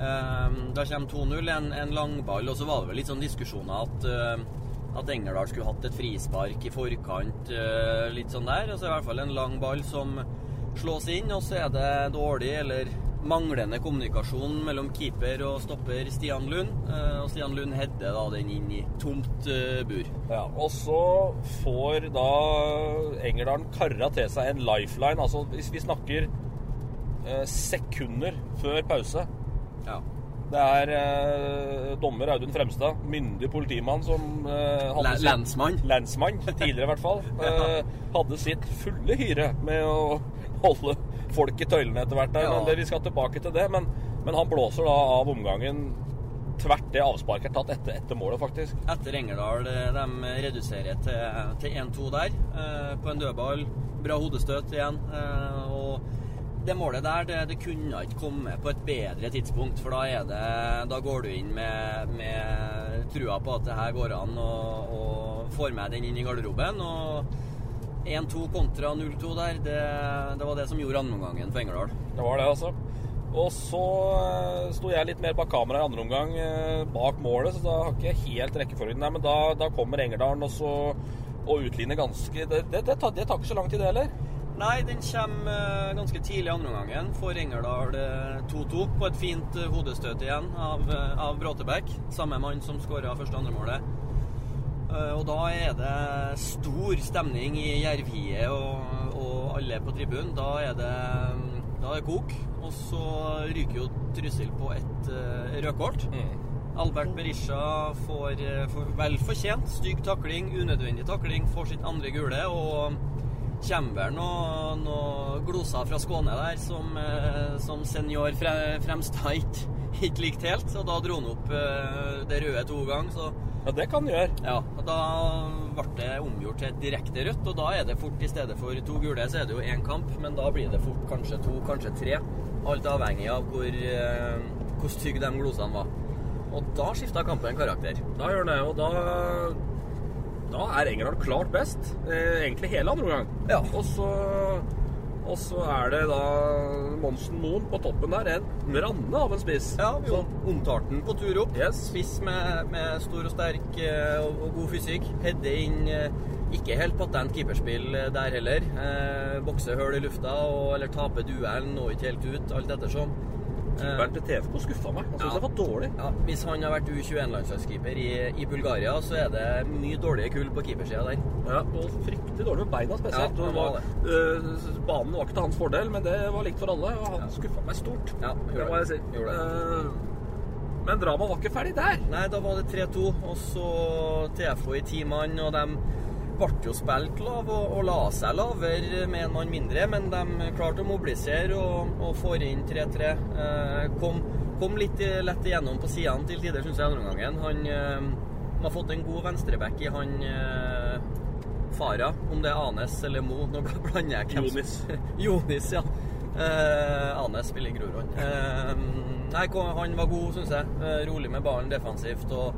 Ehm, da kommer 2-0, en, en langball, og så var det vel litt sånn diskusjoner at, eh, at Engerdal skulle hatt et frispark i forkant, eh, litt sånn der. Og så er det i hvert fall en lang ball som slås inn, og så er det dårlig eller manglende kommunikasjon mellom keeper og stopper Stian Lund. eh, og Stian Lund hedder da den inn i tomt eh, bur.
Ja, og så får da Engerdalen karra til seg en lifeline. Altså, hvis vi snakker eh, sekunder før pause Det er eh, dommer Audun Fremstad, myndig politimann som eh,
Le-
sitt-
lensmann.
Lensmann, tidligere i hvert fall. eh, hadde sitt fulle hyre med å holde folk i tøylene etter hvert. der,
Ja.
men det, Vi skal tilbake til det, men, men han blåser da av omgangen tvert det avsparket er tatt etter, etter målet, faktisk.
Etter Engerdal, eh, de reduserer til, til 1-2 der, eh, på en dødball. Bra hodestøt igjen. eh, Og det målet der, det, det kunne ikke komme på et bedre tidspunkt, for da, er det, da går du inn med, med trua på at det her går an, og, og får med den inn i garderoben. Og 1-2 kontra 0-2 der, det, det var det som gjorde andreomgangen for Engerdal.
Det var det, altså. Og så eh, sto jeg litt mer bak kamera i andre omgang, eh, bak målet, så da har ikke jeg helt rekkefølgen der. Men da, da kommer Engerdalen og så og utligner ganske det, det, det, tar, det tar ikke så lang tid, det heller.
Nei, den kommer eh, ganske tidlig i andre omgangen. Får Engerdal eh, 2-2 på et fint eh, hodestøt igjen av, eh, av Bråtebekk. Samme mann som skåra første og andre målet. Eh, Og da er det stor stemning i Jervie og, og alle på tribunen. Da er det, da er det kok. Og så ryker jo Trysil på et eh, rødkort. Albert Berisha får, eh, får vel fortjent stygg takling, unødvendig takling, får sitt andre gule. Og kommer vel noen noe gloser fra Skåne der som, eh, som senior Fre- Fremstad ikke, ikke likte helt. Og da dro han opp eh, det røde to ganger. Så
Ja, det kan du gjøre.
ja, og da ble det omgjort til et direkte rødt, og da er det fort i stedet for to gule, så er det jo én kamp, men da blir det fort kanskje to, kanskje tre. Alt avhengig av hvor, eh, hvor stygge de glosene var. Og da skifta kampen karakter.
Da gjør den det, og da Da er Engerdal klart best. Eh, egentlig hele andre omgang. Ja. Og så og så er det da Monsen Moen på toppen der. En ranne av en spiss.
Ja, vi omtalte den på tur opp. Spiss med, med stor og sterk eh, og, og god fysikk. Hedde inn eh, ikke helt patent keeperspill eh, der heller. Eh, Bokse hull i lufta og, eller tape duellen, nå ikke helt ut, alt ettersom. Eh,
Keeperen til TFK skuffa meg. Han syntes det var dårlig.
Ja, hvis han har vært U21-landslagskeeper i, i Bulgaria, så er det mye dårligere kull på keepersida der.
Ja, og fryktelig dårlig med beina spesielt. Og
Ja,
det
han var
var, eh, banen var ikke til hans fordel, men det var likt for alle. Og han skuffa meg stort. det må jeg si. Eh, men dramaet var ikke ferdig der.
Nei, da var det 3-2, og så TFO i ti mann, og de ble jo spilt lav og, og la seg lavere med en mann mindre, men de klarte å mobilisere og, og får inn 3-3. Eh, kom, kom litt eh, lett igjennom på sidene til tider, syns jeg, andre omgangen. Han eh, har fått en god venstreback i han eh, Farah, om det er Anes eller Mo. Nå blander jeg hvem som-
Jonis.
Jonis, ja. Eh, Anes spiller i Grorud. Eh, nei, kom- han var god, syns jeg. Eh, rolig med ballen defensivt og,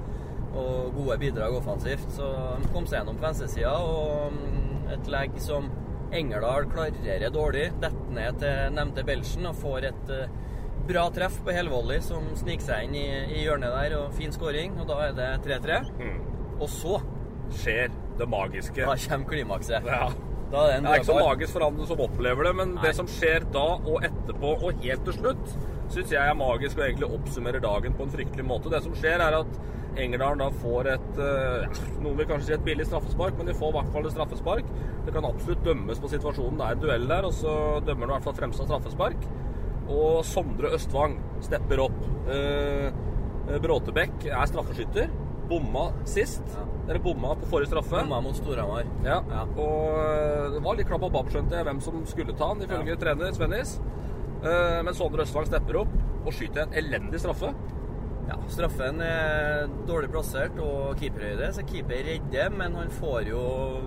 og gode bidrag offensivt. Så han kom seg gjennom på venstresida, og mm, et legg som Engerdal klarerer dårlig. Detter ned til nevnte Belsen og får et eh, bra treff på helvolley som sniker seg inn i, i hjørnet der, og fin skåring. Og da er det 3-3. Og så
skjer det magiske.
Da kommer klimakset.
Ja.
Da er det en
Det er ikke så
dødball.
magisk for han som opplever det, men det som skjer da og etterpå og helt til slutt, syns jeg er magisk og egentlig oppsummerer dagen på en fryktelig måte. Det som skjer, er at Engerdalen da får et eh, ja, Noen vil kanskje si et billig straffespark, men de får i hvert fall et straffespark. Det kan absolutt dømmes på situasjonen. Det er en duell der, og så dømmer de i hvert fall Fremstad straffespark. Og Sondre Østvang stepper opp. Eh, Bråtebekk er straffeskytter. Bomma sist. Eller bomma på forrige straffe.
Bomma mot Storhamar.
Ja. Og eh, det var litt klabb og babb, skjønte jeg, hvem som skulle ta han, ifølge trener Svennis. Eh, Men Sondre Østvang stepper opp og skyter en elendig straffe.
Ja, straffen er dårlig plassert og keeperhøyde, så keeper redder, men han får jo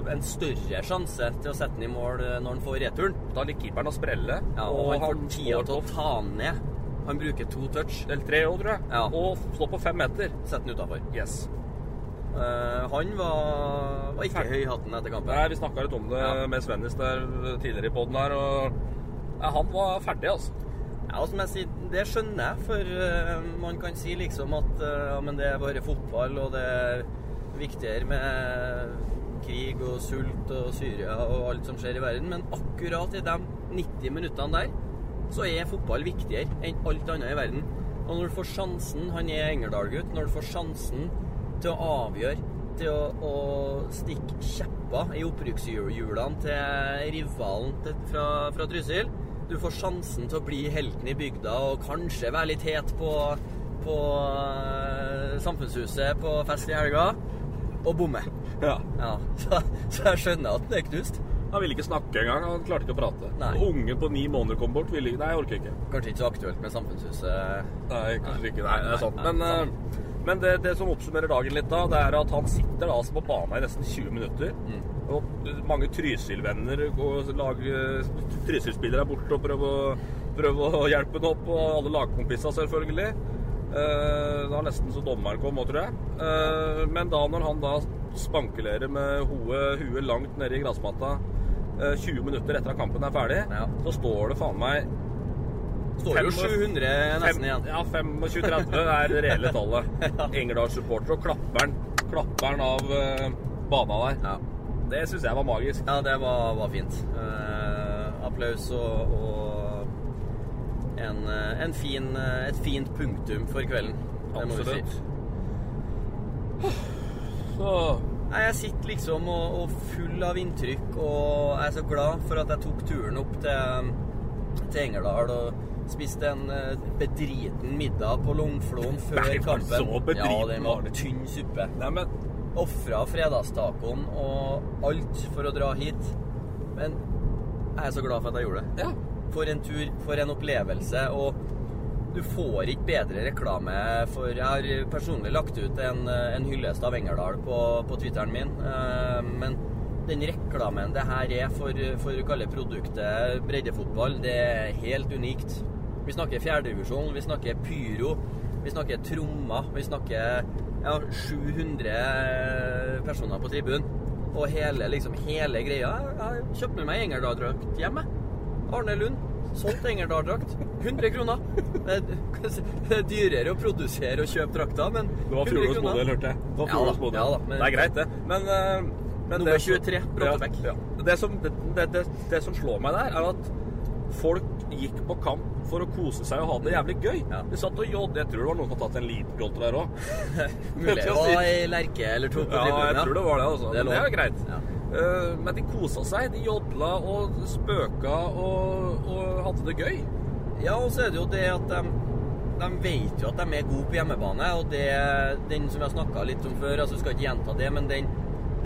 en større sjanse til å sette den i mål eh, når han får returen.
Da ligger keeperen og spreller,
ja, og,
og
han får
han
tida
får
til å ta den ned. Han bruker to touch.
Eller tre òg, tror jeg.
Ja.
Og står på fem meter.
Setter den utafor.
Yes.
han var, var ikke høy i hatten etter kampen.
Nei, vi snakka litt om det med Svennis der eh, tidligere i poden her, og ja, han var ferdig, altså.
Ja, og som jeg sier, det skjønner jeg, for eh, man kan si liksom at eh, ja, men det er bare fotball, og det er viktigere med krig og sult og Syria og alt som skjer i verden, men akkurat i de 90 minuttene der, så er fotball viktigere enn alt annet i verden. Og når du får sjansen, han er Engerdal-gutt, når du får sjansen til å avgjøre, til å, å stikke kjepper i opprykkshjulene til rivalen til, fra, fra Trysil du får sjansen til å bli helten i bygda og kanskje være litt het på, på eh, samfunnshuset på fest i helga, og bomme.
Ja.
så, så jeg skjønner at den er knust.
Han ville ikke snakke engang. Han klarte ikke å prate.
Nei.
Ungen på ni måneder kom bort. Ville ikke Nei, jeg orker ikke.
Kanskje ikke så aktuelt med samfunnshuset.
Nei, kanskje ikke. Nei, det er sant.
nei,
Men, eh, men det, det som oppsummerer dagen litt, da, det er at han sitter da, altså på banen i nesten 20 minutter.
Mm.
Og mange Trysil-venner og lag- eh, Trysil-spillere er borte og prøver å, prøver å hjelpe ham opp. Og alle lagkompisene, selvfølgelig. Eh, Det var nesten så dommeren kom òg, tror jeg. Eh, Men da når han da spankulerer med hodet, huet langt nede i gressmatta eh, 20 minutter etter at kampen er ferdig, så står det faen meg
Står jo
Fem-
700 nesten
fem-
igjen.
Ja, 25-30 er det reelle tallet. Engerdal-supporter og klapper'n klapper'n av eh, bana der.
Ja.
Det syns jeg var magisk.
Ja, det var, var fint. Eh, applaus og, og en, eh, en fin, eh, et fint punktum for kvelden. Det må vi si.
Absolutt.
Nei, jeg sitter liksom og, og full av inntrykk, og jeg er så glad for at jeg tok turen opp til, til Engerdal og spiste en eh, bedriten middag på Longflon før
Nei, var det
kampen.
så bedriten
ja, den
var
var tynn suppe. Neimen Ofra fredagstacoen og alt for å dra hit. Men jeg er så glad for at jeg gjorde det. For en tur, for en opplevelse. og du får ikke bedre reklame for Jeg har personlig lagt ut en, en hyllest av Engerdal på, på Twitteren min. eh, Men den reklamen det her er for, for å kalle produktet breddefotball, det er helt unikt. Vi snakker fjerdedivisjon, vi snakker pyro, vi snakker trommer, vi snakker ja, 700 personer på tribunen. Og hele, liksom, hele greia Jeg har kjøpt med meg Engerdal-drakt hjem, jeg. Arne Lund. Solgt Engerdal-drakt. 100 kroner. Det er- det er dyrere å produsere og kjøpe drakta, men 100 kroner.
Det var fjorårets modell, hørte jeg. Det var
Ja da,
fjorårets modell.
ja da, men-
det er greit, det. Men, eh, men
Nummer 23, Brattebekk.
Ja, ja. Det, som, det, det, det, det som slår meg der, er at folk gikk på kamp for å kose seg og ha det jævlig gøy. De satt og jodde. Jeg tror det var noen som hadde tatt en liten jolte der òg.
Mulig det var ei lerke eller to på
ja,
tribunen,
jeg
ja.
tror det var det. altså.
Det
Men
er
det
lov.
er jo greit. Eh, men de kosa seg. De jodla og spøka og, og hadde det gøy.
Ja, og så er det jo det at de, de vet jo at de er gode på hjemmebane, og det den som vi har snakka litt om før, altså skal ikke gjenta det, men den,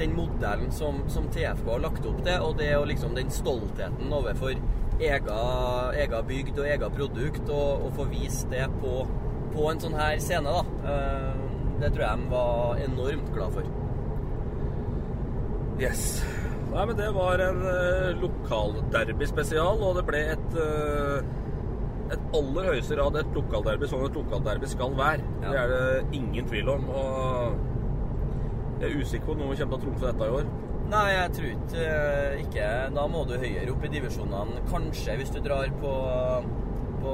den modellen som, som TFK har lagt opp til, og det er jo liksom den stoltheten overfor ega, ega bygd og ega produkt, og, og få vist det på, på en sånn her scene, da. Eh, Det tror jeg de var enormt glad for.
Yes. Nei, men det var en uh, lokalderby-spesial, og det ble et, eh, et aller høyeste rad et lokalderby sånn et lokalderby skal være. Det er det ingen tvil om. Og jeg er usikker på om noen kommer til å trumfe dette i år.
Nei, jeg tror ikke, eh, ikke Da må du høyere opp i divisjonene. Kanskje hvis du drar på, på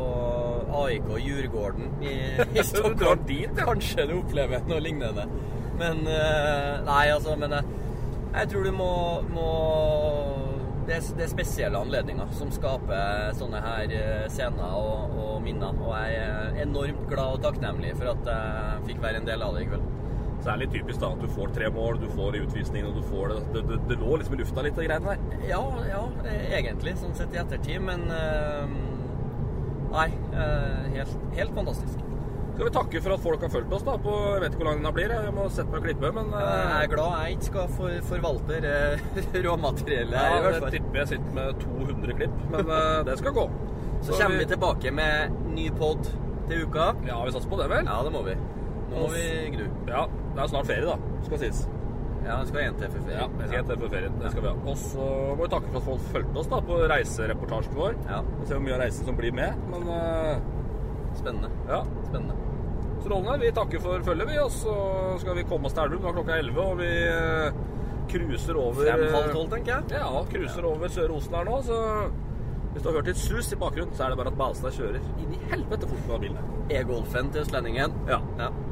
AIK Djurgården i, i Stockholm.
Du drar dit, ja.
Kanskje du opplever noe lignende. Men eh, Nei, altså, men jeg, jeg tror du må, må det, er, det er spesielle anledninger som skaper sånne her eh, scener og, og minner. Og jeg er enormt glad og takknemlig for at jeg fikk være en del av det i kveld.
Så det er litt typisk da at du får tre mål, du får i utvisningen, og du får det Det, det, det lå liksom i lufta litt, de greiene der.
Ja, ja, eh, egentlig, sånn sett i ettertid, men eh, Nei, eh, helt, helt fantastisk.
Skal vi takke for at folk har fulgt oss, da? på, Jeg vet ikke hvor lang den her blir, jeg må sette meg og klippe, men eh,
Jeg er glad jeg ikke skal for, forvalte det råmateriellet. her, i
Ja,
hvert
jeg
fall.
tipper jeg sitter med 200 klipp, men eh, det skal gå.
Så kommer vi tilbake med ny pod til uka.
Ja, vi satser på det, vel?
Ja, det må vi. Nå må vi gnu.
Ja, det er snart ferie, da. Skal sies.
Ja, vi skal en til E. før
Ja,
ferien.
vi skal hjem til før ferien. Det skal vi ha. Og så må vi takke for at folk fulgte oss da på reisereportasjen vår.
Ja.
Vi ser hvor mye av reisen som blir med, men eh,
Spennende.
Ja.
Spennende.
Strålende. Vi takker for følget, vi. Og så skal vi komme oss til Elverum. Nå er klokka 11, og vi eh, cruiser over
Fem, halv tolv, tenker jeg.
Ja, cruiser over Sør-Osen her nå, så hvis du har hørt litt sus i bakgrunnen, så er det bare at Balstad kjører inn i helvete fort med bilen.
E-golfen til Østlendingen.
Ja.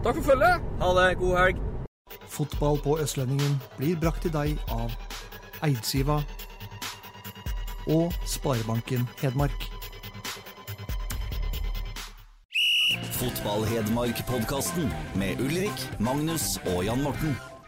Takk for følget!
Ha det. God helg.
Fotball på Østlendingen blir brakt til deg av Eidsiva og Sparebanken Hedmark.
Fotball-Hedmark-podkasten med Ulrik, Magnus og Jan Morten.